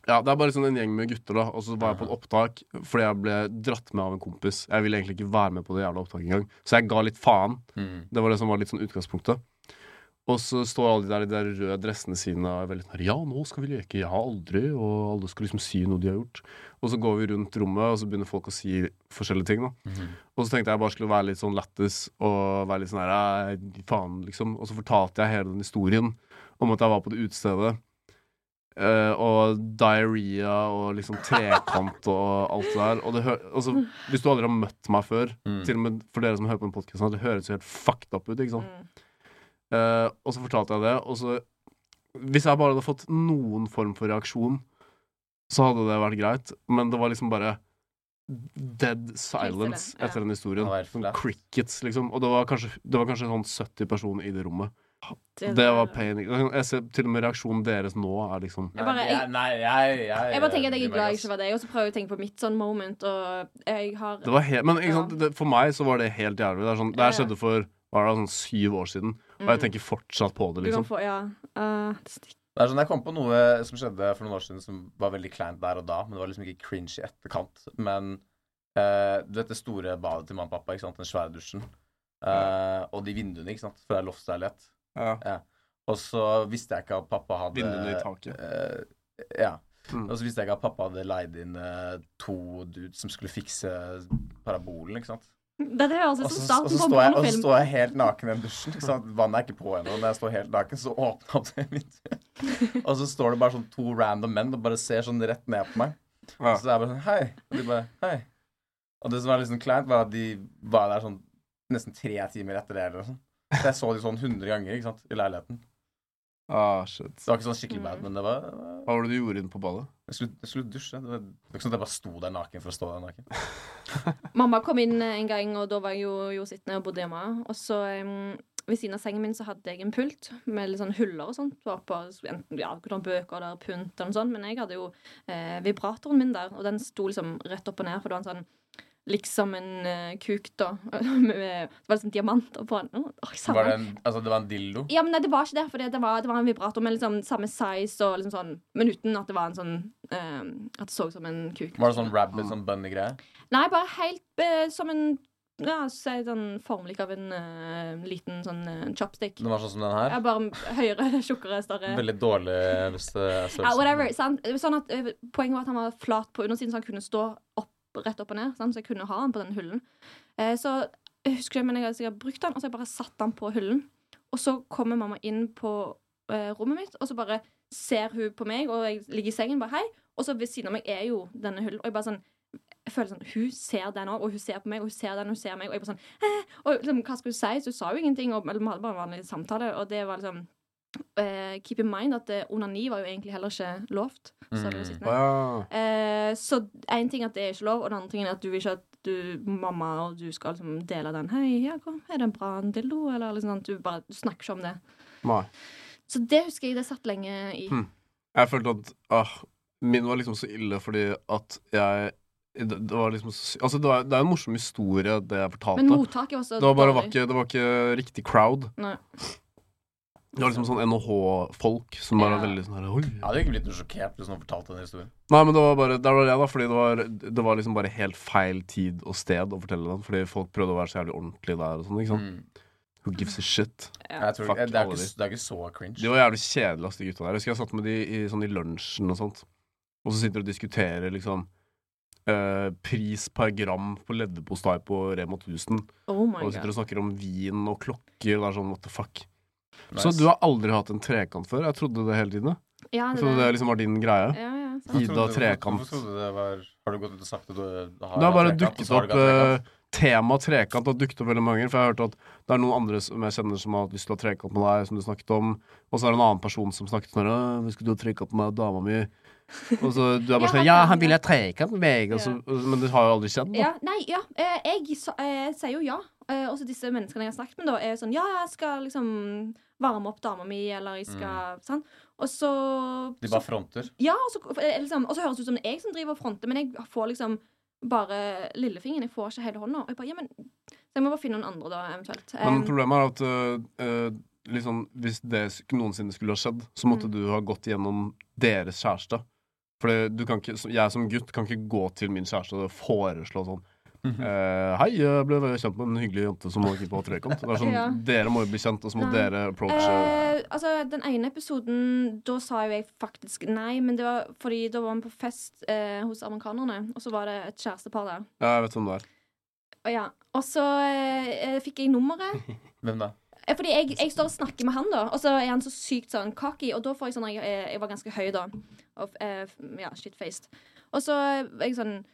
Speaker 1: Ja, det er bare sånn en gjeng med gutter, da. Og så var jeg på et opptak fordi jeg ble dratt med av en kompis. Jeg ville egentlig ikke være med på det jævla opptaket engang, så jeg ga litt faen.
Speaker 6: Mm,
Speaker 1: Det var det som var litt sånn utgangspunktet. Og så står alle de der i de der røde dressene sine og er veldig sånn Ja, nå skal vi leke. Jeg har aldri Og alle skal liksom si noe de har gjort. Og så går vi rundt rommet, og så begynner folk å si forskjellige ting, da. Og så tenkte jeg bare skulle være litt sånn lættis og være litt sånn her «Æ, Faen, liksom. Og så fortalte jeg hele den historien om at jeg var på det utestedet. eh, og diaré og liksom trekant og alt det der. Og det hø altså, hvis du aldri har møtt meg før,
Speaker 6: mm.
Speaker 5: Mm.
Speaker 1: til og med for dere som hører på den podkasten, det høres jo helt fucked up ut, ikke sant?
Speaker 5: Mm.
Speaker 1: Eh, og så fortalte jeg det, og så Hvis jeg bare hadde fått noen form for reaksjon, så hadde det vært greit, men det var liksom bare dead silence
Speaker 5: Helt stille, ja.
Speaker 1: etter den historien.
Speaker 6: Det var helt
Speaker 1: Sånn
Speaker 6: flatt.
Speaker 1: crickets, liksom. Og det var kanskje, det var kanskje sånn 70 personer i det rommet.
Speaker 5: Det-
Speaker 1: Det var pain. Jeg ser til og med reaksjonen deres nå er liksom
Speaker 6: Nei,
Speaker 5: bare-
Speaker 6: jeg, nei, jeg, jeg,
Speaker 5: Jeg bare tenker at jeg er
Speaker 6: bryr meg
Speaker 5: glad jeg
Speaker 6: ass.
Speaker 5: ikke var deg, og så prøver jeg å tenke på mitt sånn moment, og jeg har
Speaker 1: Det var helt, men ikke sant?
Speaker 5: Ja.
Speaker 1: Det, for meg så var det helt jævlig. Det, er sånn, det her skjedde for hva er det, sånn syv år siden, og jeg tenker fortsatt på det,
Speaker 5: Mm. Du kan
Speaker 1: liksom.
Speaker 5: få Ja. eh, det stikk-
Speaker 6: Det er sånn, Jeg kom på noe som skjedde for noen år siden som var veldig kleint der og da, men det var liksom ikke cringe i etterkant. Men eh, du vet det store badet til mamma og pappa, ikke sant? den svære dusjen, Eh, og de vinduene, ikke sant, for det er loftsleilighet.
Speaker 1: Ja.
Speaker 6: Og så visste jeg ikke at pappa hadde
Speaker 1: Vinduene i taket.
Speaker 6: eh, ja.
Speaker 1: Mm.
Speaker 6: Og så visste jeg ikke at pappa hadde leid inn eh, to dudes som skulle fikse parabolen, ikke sant.
Speaker 5: Dette høres
Speaker 6: Og
Speaker 5: ut
Speaker 6: så,
Speaker 5: som starten
Speaker 6: og, Altså, så
Speaker 5: på en
Speaker 6: står jeg, og så
Speaker 5: pornofilm.
Speaker 6: står jeg helt naken i den dusjen. Ikke sant? Vannet er ikke på ennå. Når jeg står helt naken, så åpner opp det vinduet. Og så står det bare sånn to random menn og bare ser sånn rett ned på meg.
Speaker 1: Ja.
Speaker 6: Og så er jeg bare sånn Hei. Og de bare Hei. Og det som var liksom kleint, var at de var der sånn nesten tre timer etter det. Eller sånn. Så jeg så de sånn 100 ganger ikke sant? i leiligheten.
Speaker 1: Ah, shit.
Speaker 6: Så det var ikke sånn skikkelig bad, men det var
Speaker 1: Hva var det du gjorde inne på ballet?
Speaker 6: Jeg skulle, jeg skulle dusje. Det var, det var ikke sånn at jeg bare sto der naken for å stå der naken.
Speaker 5: Mamma kom inn eh, en gang, og da var jeg jo, jo sittende og bodde hjemme. Og så em, ved siden av sengen min så hadde jeg en pult med litt sånn huller og sånt. Det var på enten ja, noen bøker eller pynt eller noe sånt. Men jeg hadde jo eh, vibratoren min der, og den sto liksom rett opp og ned, for det var en sånn Liksom en eh, kuk, da. med, med, det var liksom diamanter på den. Åh, jeg savner
Speaker 6: Var det, en, altså, det var en dildo.
Speaker 5: Ja, men nei, det var ikke det, for det, det, var, det var en vibrator med liksom samme size, og liksom sånn, men uten at det var en sånn ehm, At det så ut som en kuk.
Speaker 6: Var det sånn rabbit, sånn bunny-greie?
Speaker 5: Nei, bare helt eh, som en ja, si, sånn formlik av en eh, liten sånn eh, chopstick.
Speaker 6: Den var sånn som den her?
Speaker 5: Ja, bare høyere, tjukkere, større.
Speaker 6: Veldig dårlig eh, hvis det er størrelsen.
Speaker 5: Ja, whatever, sant? Sånn at, eh, poenget var at han var flat på undersiden, så han kunne stå opp, rett opp og ned. Sant? Så jeg kunne ha han på den hullen. Eh, så jeg husker det, men jeg hadde sikkert brukt han, og så jeg bare satt han på hullen. Og så kommer mamma inn på eh, rommet mitt, og så bare ser hun på meg, og jeg ligger i sengen, bare hei. Og så ved siden av meg er jo denne hullen, og jeg bare sånn jeg føler sånn, Hun ser den òg, og hun ser på meg, og hun ser den, og hun ser meg. Og jeg bare sånn, eh, og liksom, Hva skal hun si? Så hun sa jo ingenting. Og, eller, vi hadde bare en vanlig samtale. Og det var liksom eh, Keep in mind at eh, onani var jo egentlig heller ikke lovt. Så, det var jo sittende. Eh, så en ting er at det er ikke lov, og den andre ting er at du vil ikke at du, mamma og du skal liksom dele den. 'Hei, ja, hva- er det en bra dildo?' Eller liksom sånn. at Du bare du snakker ikke om det.
Speaker 1: Nei.
Speaker 5: Så det husker jeg det satt lenge i.
Speaker 1: Jeg følte at ah, min var liksom så ille fordi at jeg det, det var liksom Altså, det, var, det er en morsom historie, det jeg fortalte.
Speaker 5: Men mottaket var så
Speaker 1: det var bare var
Speaker 5: dårlig.
Speaker 1: ikke, det var ikke riktig crowd.
Speaker 5: Nei.
Speaker 1: Det var liksom sånn NHH-folk som bare
Speaker 5: Ja.
Speaker 1: var veldig sånn her Oi.
Speaker 6: Jeg hadde ikke blitt noe sjokkert hvis noen fortalte denne historien.
Speaker 1: Nei, men det var bare Der var jeg, da. Fordi det var, det var liksom bare helt feil tid og sted å fortelle den. Fordi folk prøvde å være så jævlig ordentlige der og sånn. Ikke sant?
Speaker 6: Mm.
Speaker 1: Who gives a shit?
Speaker 6: Jeg tror,
Speaker 1: Fuck
Speaker 6: det, er
Speaker 1: alle
Speaker 6: ikke,
Speaker 1: de.
Speaker 6: det er ikke så cringe.
Speaker 1: De var jævlig kjedelige, ass, de gutta der. Jeg husker jeg satt med de i, sånn, i lunsjen og sånt. Og så sitter de og diskuterer liksom eh, pris per gram på leverpostei på Rema 1000.
Speaker 5: Oh my
Speaker 1: Og de
Speaker 5: god.
Speaker 1: sitter og snakker om vin og klokker. Og det er sånn what the fuck.
Speaker 6: Nice.
Speaker 1: Så du har aldri hatt en trekant før? Jeg trodde det hele tiden. jeg.
Speaker 5: Ja,
Speaker 1: Jeg
Speaker 5: det,
Speaker 1: trodde det
Speaker 5: der.
Speaker 1: liksom var din greie.
Speaker 5: ja, ja, sant.
Speaker 1: Ida
Speaker 6: Hvorfor trodde du-
Speaker 1: Trekant.
Speaker 6: hvorfor trodde du det var, har du gått ut og sagt at du har
Speaker 1: Det har bare
Speaker 6: trekant, og
Speaker 1: dukket
Speaker 6: så har du
Speaker 1: opp
Speaker 6: ikke hatt trekant?
Speaker 1: eh, Tema trekant har dukket opp veldig mange ganger. For jeg har hørt at det er noen andre som jeg kjenner som har hatt lyst til å ha trekant med deg, som du snakket om. Og så er det en annen person som snakket sånn her «Å, 'Skal du ha trekant med dama mi?' Og så du er bare
Speaker 5: Ja,
Speaker 1: sånn
Speaker 5: han
Speaker 1: 'Ja,
Speaker 5: kan
Speaker 1: han
Speaker 5: det.»
Speaker 1: vil ha trekant med meg', og så, men det har jo aldri skjedd, da.
Speaker 5: Ja, nei, ja. eh, Jeg, sa- eh, sier jo ja. Eh, Også disse menneskene jeg har snakket med, da, er sånn Ja, jeg skal liksom varme opp dama mi, eller jeg
Speaker 1: Mm.
Speaker 5: skal sånn. Og så
Speaker 6: De bare fronter.
Speaker 5: Ja, og så, for- eh, liksom, og så høres det ut som det er jeg som driver og fronter, men jeg får liksom bare lillefingeren. Jeg får ikke hele hånda. Og jeg bare, ja, men, så jeg må bare finne noen andre, da, eventuelt.
Speaker 1: Men
Speaker 5: Em,
Speaker 1: problemet er at øh, øh, liksom, hvis det sk- noensinne skulle ha skjedd, så måtte
Speaker 5: Mm.
Speaker 1: du ha gått gjennom deres kjæreste. For du kan ikke, så- jeg som gutt kan ikke gå til min kjæreste og foreslå sånn eh, Hei, jeg ble veldig kjent med en hyggelig jente som holder på trekant. Det er sånn,
Speaker 5: Ja.
Speaker 1: Dere må jo bli kjent, og så må
Speaker 5: Nei.
Speaker 1: dere approache
Speaker 5: Eh, altså, Den ene episoden, da sa jo jeg faktisk nei, men det var fordi da var vi på fest eh, hos amerikanerne, og så var det et kjærestepar der.
Speaker 1: Ja, Jeg vet hvem det er.
Speaker 5: Og, ja. og så eh, eh, fikk jeg nummeret.
Speaker 6: Hvem da?
Speaker 5: Eh, Fordi jeg, jeg står og snakker med han, da, og så er han så sykt sånn cocky. Og da får jeg sånn Jeg, eh, jeg var ganske høy, da. Og, eh, f- ja, shitfaced. Og så er jeg sånn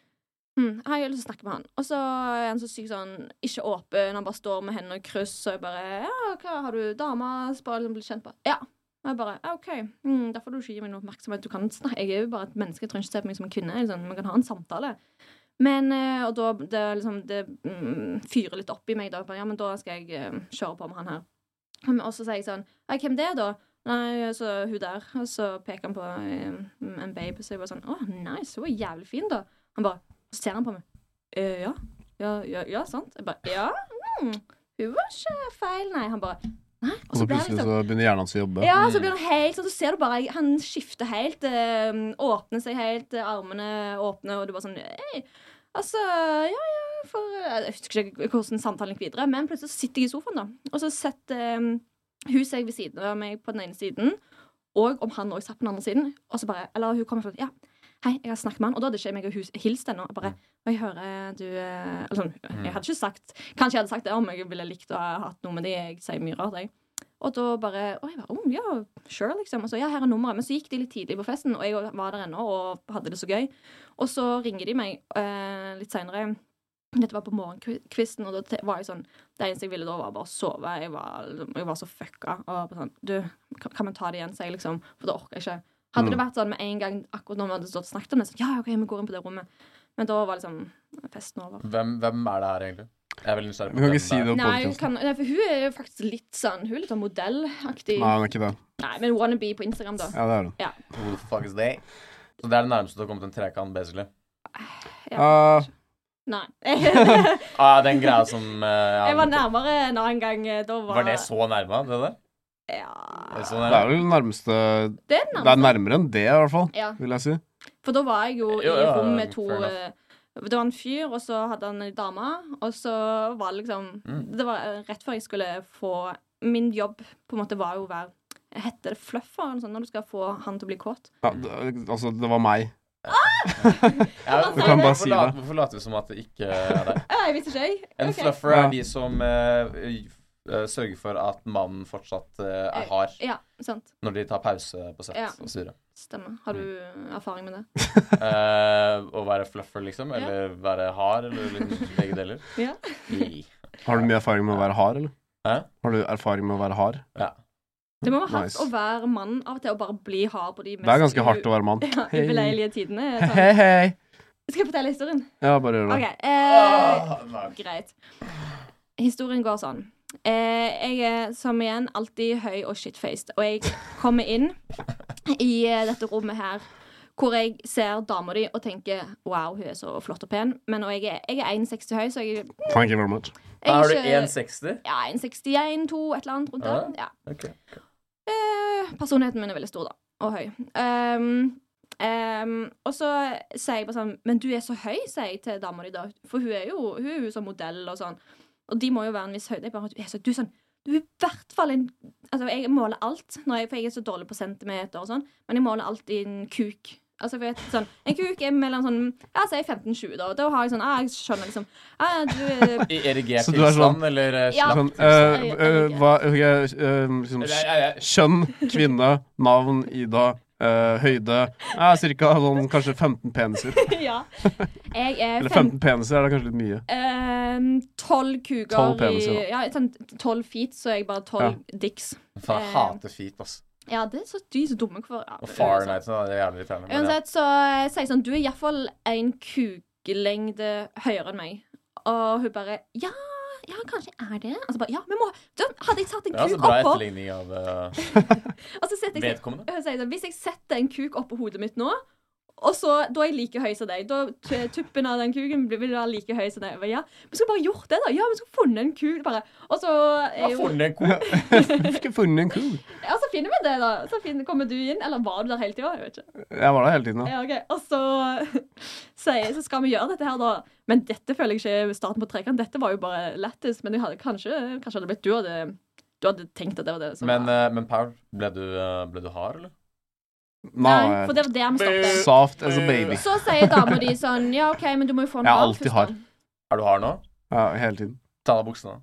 Speaker 5: hm, Har jeg lyst til å snakke med han. Og så er han så sykt sånn ikke åpen. Han bare står med hendene i kryss, og jeg bare Ja, hva har du dame? Spør liksom bli kjent på. Ja. Og jeg bare «Ja, OK. Mm, derfor du ikke gir meg noe oppmerksomhet. Du kan snakke. Jeg er jo bare et menneske. Jeg trenger ikke se på meg som en kvinne. Jeg er Sånn, man kan ha en samtale. Men, eh, og da det, er liksom, det mm, fyrer litt opp i meg, da. Jeg bare, Ja, men da skal jeg eh, kjøre på med han her. Men- Og så sier jeg sånn «Nei, Hvem det er, da? Nei, så hun der. Og så peker han på eh, en babe, så jeg bare sånn Å, nice. Hun var jævlig fin, da. Han bare Så ser han på meg. «Eh, ja. Ja, ja. Ja, sant? Jeg bare Ja. Mm, hun var ikke feil, nei. Han bare Nei.
Speaker 1: Og så
Speaker 5: ble han
Speaker 1: plutselig så begynner hjernen hans å jobbe.
Speaker 5: ja, så blir han helt sånn, så ser du bare Han skifter helt, eh, åpner seg helt, eh, armene åpne, og du bare sånn «Ei». Altså, ja, ja, for eh, Jeg husker ikke hvordan samtalen gikk videre, men plutselig så sitter jeg i sofaen, da. Og så setter eh, hun seg ved siden av meg på den ene siden, og om han òg satt på den andre siden, og så bare Eller hun kommer sånn Ja. Hei, jeg har snakket med han, og da hadde ikke jeg meg og hus- hilst ennå. Jeg bare, og jeg hører du eh, Eller sånn, jeg hadde ikke sagt Kanskje jeg hadde sagt det om jeg ville likt å ha hatt noe med de Jeg sier mye rart, jeg. Og da bare Å, jeg bare, oh, ja, sure, liksom. Og så, ja, her er nummeret. Men så gikk de litt tidlig på festen, og jeg var der ennå og hadde det så gøy. Og så ringer de meg eh, litt seinere. Dette var på morgenkvisten, og da te- var jeg sånn Det eneste jeg ville da, var bare å sove. Jeg var, liksom, jeg var så fucka. Og bare sånn Du, kan kan vi ta det igjen, sier jeg liksom. For da orker jeg ikke. Hadde
Speaker 1: Mm.
Speaker 5: det vært sånn med en gang akkurat når vi hadde stått og snakket om det, sånn Ja, OK, vi går inn på det rommet. Men da var liksom festen over.
Speaker 6: Hvem, hvem er det her, egentlig? Jeg er veldig nysgjerrig. på
Speaker 1: Vi kan
Speaker 6: hvem
Speaker 1: ikke si
Speaker 6: er.
Speaker 1: det på
Speaker 5: Nei, hun
Speaker 1: podkasten.
Speaker 5: kan, nei, for hun er jo faktisk litt sånn Hun er litt sånn modellaktig.
Speaker 1: Nei, han er ikke det.
Speaker 5: Nei, men wannabe på Instagram, da.
Speaker 1: Ja, det er hun.
Speaker 5: Ja.
Speaker 6: Who the fuck is they? Så det er det nærmeste du har kommet en trekant, basically.
Speaker 1: Ah,
Speaker 5: Nei. jeg
Speaker 6: Ah, den greia som eh, ja,
Speaker 5: var nærmere en annen gang. eh, Da var
Speaker 6: Var det så nærme, det der? Er
Speaker 5: Ja.
Speaker 6: det så
Speaker 1: Eh, det
Speaker 6: nærme?
Speaker 1: er vel nærmeste
Speaker 5: Det er
Speaker 1: Det er
Speaker 5: nærmere.
Speaker 1: nærmere enn det, i hvert fall.
Speaker 5: Ja.
Speaker 1: Vil jeg si.
Speaker 5: For da var jeg jo i
Speaker 6: Jo, ja,
Speaker 5: rom med to
Speaker 6: fair enough.
Speaker 5: eh, Det var en fyr, og så hadde han en dame, og så var det liksom
Speaker 6: Mm.
Speaker 5: Det var eh, rett før jeg skulle få Min jobb på en måte var jo å være Heter det fluffer eller noe sånt når du skal få han til å bli kåt?
Speaker 1: Ja, det, altså, det var meg.
Speaker 6: Ja,
Speaker 5: Du kan
Speaker 1: bare si
Speaker 6: hvorfor la-
Speaker 1: det.
Speaker 6: Hvorfor later vi som at det ikke er det?
Speaker 5: Ja, jeg visste ikke, jeg.
Speaker 6: En
Speaker 5: Ok.
Speaker 6: fluffer er
Speaker 1: Ja.
Speaker 6: de som eh, eh, sørger for at mannen fortsatt eh, er hard
Speaker 5: Ja, sant.
Speaker 6: når de tar pause på sett
Speaker 5: Ja.
Speaker 6: og så videre.
Speaker 5: Stemmer. Har du
Speaker 6: Mm.
Speaker 5: erfaring med det?
Speaker 6: Eh, å være fluffer, liksom? Eller være hard? Eller liksom begge deler?
Speaker 5: Ja.
Speaker 6: I.
Speaker 1: Har du mye erfaring med å være hard, eller?
Speaker 6: Hæ?
Speaker 1: Har du erfaring med å være hard?
Speaker 6: Ja.
Speaker 5: Det må være hardt
Speaker 1: Nice.
Speaker 5: å være mann av og til og bare bli hard på de mest
Speaker 1: Det er ganske hardt å være mann.
Speaker 5: ja,
Speaker 1: Hei.
Speaker 5: ubeleilige tidene.
Speaker 1: Hei,
Speaker 5: Sånn.
Speaker 1: hei, hei.
Speaker 5: Skal jeg fortelle historien?
Speaker 1: Ja, bare gjør
Speaker 5: OK.
Speaker 1: det.
Speaker 5: Eh,
Speaker 6: Ah, nei.
Speaker 5: greit. Historien går sånn. Eh, jeg er som igjen alltid høy og shitfaced, og jeg kommer inn i eh, dette rommet her Hvor jeg ser dama di og tenker 'wow, hun er så flott og pen', men og jeg er, jeg er 1,60 høy, så jeg,
Speaker 1: Thank you very much.
Speaker 5: jeg
Speaker 6: Er du
Speaker 5: ikke-
Speaker 6: 1,60?
Speaker 5: Ja, 1,61, 2, et eller annet rundt der. Ja.
Speaker 6: Ok.
Speaker 5: Eh, personligheten min er veldig stor, da. Og høy. Ehm, ehm, og så sier jeg bare sånn Men du er så høy, sier jeg til dama di, da. For hun er jo hun er jo som modell og sånn. Og de må jo være en viss høyde. Jeg bare, du er så, du er sånn du er i hvert fall en Altså, jeg måler alt, når jeg, for jeg er så dårlig på centimeter og sånn, men jeg måler alt i en kuk. Altså, for jeg vet, sånn, En kuk er mellom sånn Ja, si 15-20, da. Og Da har jeg sånn ah, Jeg skjønner liksom ah, du er
Speaker 6: I erigert
Speaker 1: Så du er sånn-
Speaker 6: tilstand, eller eh,
Speaker 5: Ja.
Speaker 6: slapp?
Speaker 1: Sånn, eh,
Speaker 5: jeg- jeg
Speaker 1: eh,
Speaker 5: liker.
Speaker 1: hva, ok, eh, liksom,
Speaker 6: Eller, jeg- jeg-
Speaker 1: Kjønn, kvinne, navn, Ida, eh, høyde uh, Cirka sånn kanskje 15 peniser.
Speaker 5: Ja. Jeg er
Speaker 1: Eller 15
Speaker 5: 15
Speaker 1: peniser er da kanskje litt mye.
Speaker 5: Ehm, Tolv kuker
Speaker 1: 12 peniser, da.
Speaker 5: i Ja, sånn tolv feet, så er jeg bare tolv dicks.
Speaker 6: Faen,
Speaker 5: Eh.
Speaker 6: jeg hater feet, ass.
Speaker 5: Ja, det er så de er så dumme. Hvorfor ja,
Speaker 6: Og far
Speaker 5: uansett.
Speaker 6: night, så det er jævlig irriterende. men ja.
Speaker 5: Uansett, så eh, sier jeg sånn Du er iallfall en kukelengde høyere enn meg. Og hun bare Ja, ja, kanskje jeg er det. Altså bare Ja, vi må da Hadde jeg satt en
Speaker 6: Ja, så
Speaker 5: kuk
Speaker 6: altså bra
Speaker 5: oppå
Speaker 6: etterligning av eh,
Speaker 5: og så setter jeg,
Speaker 6: vedkommende.
Speaker 5: hun sier sånn, Hvis jeg setter en kuk oppå hodet mitt nå og så, Da er jeg like høy som deg. Da t- Tuppen av den kuken blir- vil være like høy som deg. Jeg bare, Ja, vi skulle bare gjort det, da. Ja, vi skulle funnet en kuk. Bare. Og så er
Speaker 6: Jeg
Speaker 5: jo
Speaker 6: får den en ko.
Speaker 1: Ikke funnet en ku.
Speaker 5: Ja, så finner vi det, da. Så finner, kommer du inn. Eller var du der hele tida? Jeg vet ikke.
Speaker 1: Jeg var der hele tiden. da.
Speaker 5: Ja, ok. Og så, sier- så skal vi gjøre dette her, da. Men dette føler jeg ikke er starten på trekant. Dette var jo bare lættis. Men jeg hadde, kanskje, kanskje hadde det blitt du hadde, du hadhadde tenkt at det var det som
Speaker 6: Men,
Speaker 5: var
Speaker 6: eh, men Paul, ble du, eh, ble du hard, eller?
Speaker 5: Nei,
Speaker 1: Nei,
Speaker 5: for det var der vi stoppet.
Speaker 1: soft as a baby.
Speaker 5: Så sier dama di sånn Ja, OK, men du må jo få en
Speaker 1: Jeg er
Speaker 5: rar
Speaker 1: alltid
Speaker 5: først,
Speaker 1: hard.
Speaker 5: da.»
Speaker 6: Er du hard nå?
Speaker 1: Ja, hele tiden.
Speaker 6: Ta av buksene.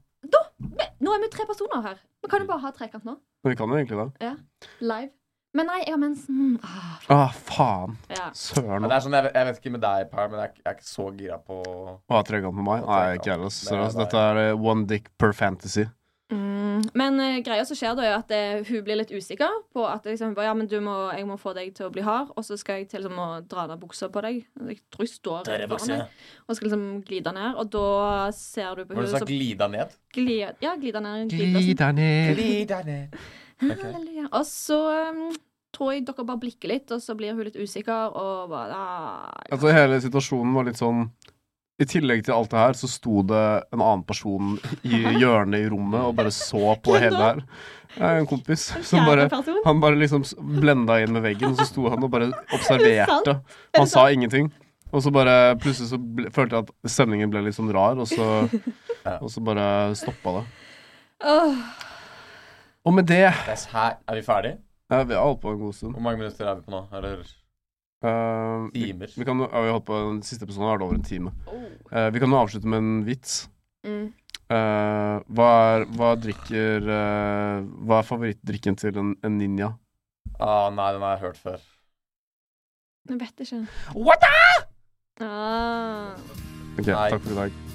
Speaker 5: Men, nå er vi tre personer her. Vi kan jo bare ha trekant nå.
Speaker 1: Men vi kan jo egentlig det.
Speaker 5: Live. Men nei, jeg har mensen. Ah,
Speaker 1: Å, faen.
Speaker 5: ja.
Speaker 6: Ja,
Speaker 1: Søren.
Speaker 6: det er sånn, jeg, vet- jeg vet ikke med deg, Per, men jeg, er ikke- jeg er ikke så gira på
Speaker 1: Å ha trekant med meg? Nei, ikke heller. Seriøst, dette er eh, one dick per fantasy.
Speaker 5: Mm, men eh, greia som skjer da, er at eh, hun blir litt usikker på at liksom, ja, men du må, jeg må få deg til å bli hard, og så skal jeg til liksom, å dra ned buksa på deg. Jeg tror jeg står rett foran deg, og skal liksom glide ned, og da ser du på
Speaker 6: Var det
Speaker 5: henne
Speaker 6: sånn
Speaker 5: som
Speaker 6: glida ned?
Speaker 5: glide, ja, glide ned en glidelåsen.
Speaker 1: Glida ned.
Speaker 6: Glida ned. Ok.
Speaker 5: Halleluja. Og så mm, tror jeg dere bare blikker litt, og så blir hun litt usikker, og bare ah,
Speaker 1: Altså, hele situasjonen var litt sånn I tillegg til alt det her, så sto det en annen person i hjørnet i rommet og bare så på
Speaker 5: Hvem
Speaker 1: hele det
Speaker 5: da?
Speaker 1: her. Ja, En kompis som
Speaker 5: Kjære
Speaker 1: bare
Speaker 5: person.
Speaker 1: han bare liksom s- blenda inn med veggen, og så sto han og bare observerte.
Speaker 5: det
Speaker 1: Han sa
Speaker 5: sant?
Speaker 1: ingenting. Og så bare plutselig så ble, følte jeg at stemningen ble litt sånn rar, og så,
Speaker 6: Ja.
Speaker 1: og så bare stoppa det.
Speaker 5: Åh.
Speaker 1: Og med det
Speaker 6: Det er her. Er vi ferdige?
Speaker 1: ja, Vi har holdt på en god stund.
Speaker 6: Hvor mange minutter er vi på nå? Eller
Speaker 1: Eh, vi,
Speaker 6: timer?
Speaker 1: vi kan, jo- ja, vi har holdt på Den siste episoden har vært over en time. Eh, vi kan jo avslutte med en vits.
Speaker 5: Mm.
Speaker 1: Eh, hva, er, hva drikker eh, Hva er favorittdrikken til en, en ninja?
Speaker 6: Ah, nei, den har jeg hørt før.
Speaker 5: Jeg vet ikke.
Speaker 1: What
Speaker 5: Ah.
Speaker 1: Ok,
Speaker 6: Nei.
Speaker 1: takk for i dag.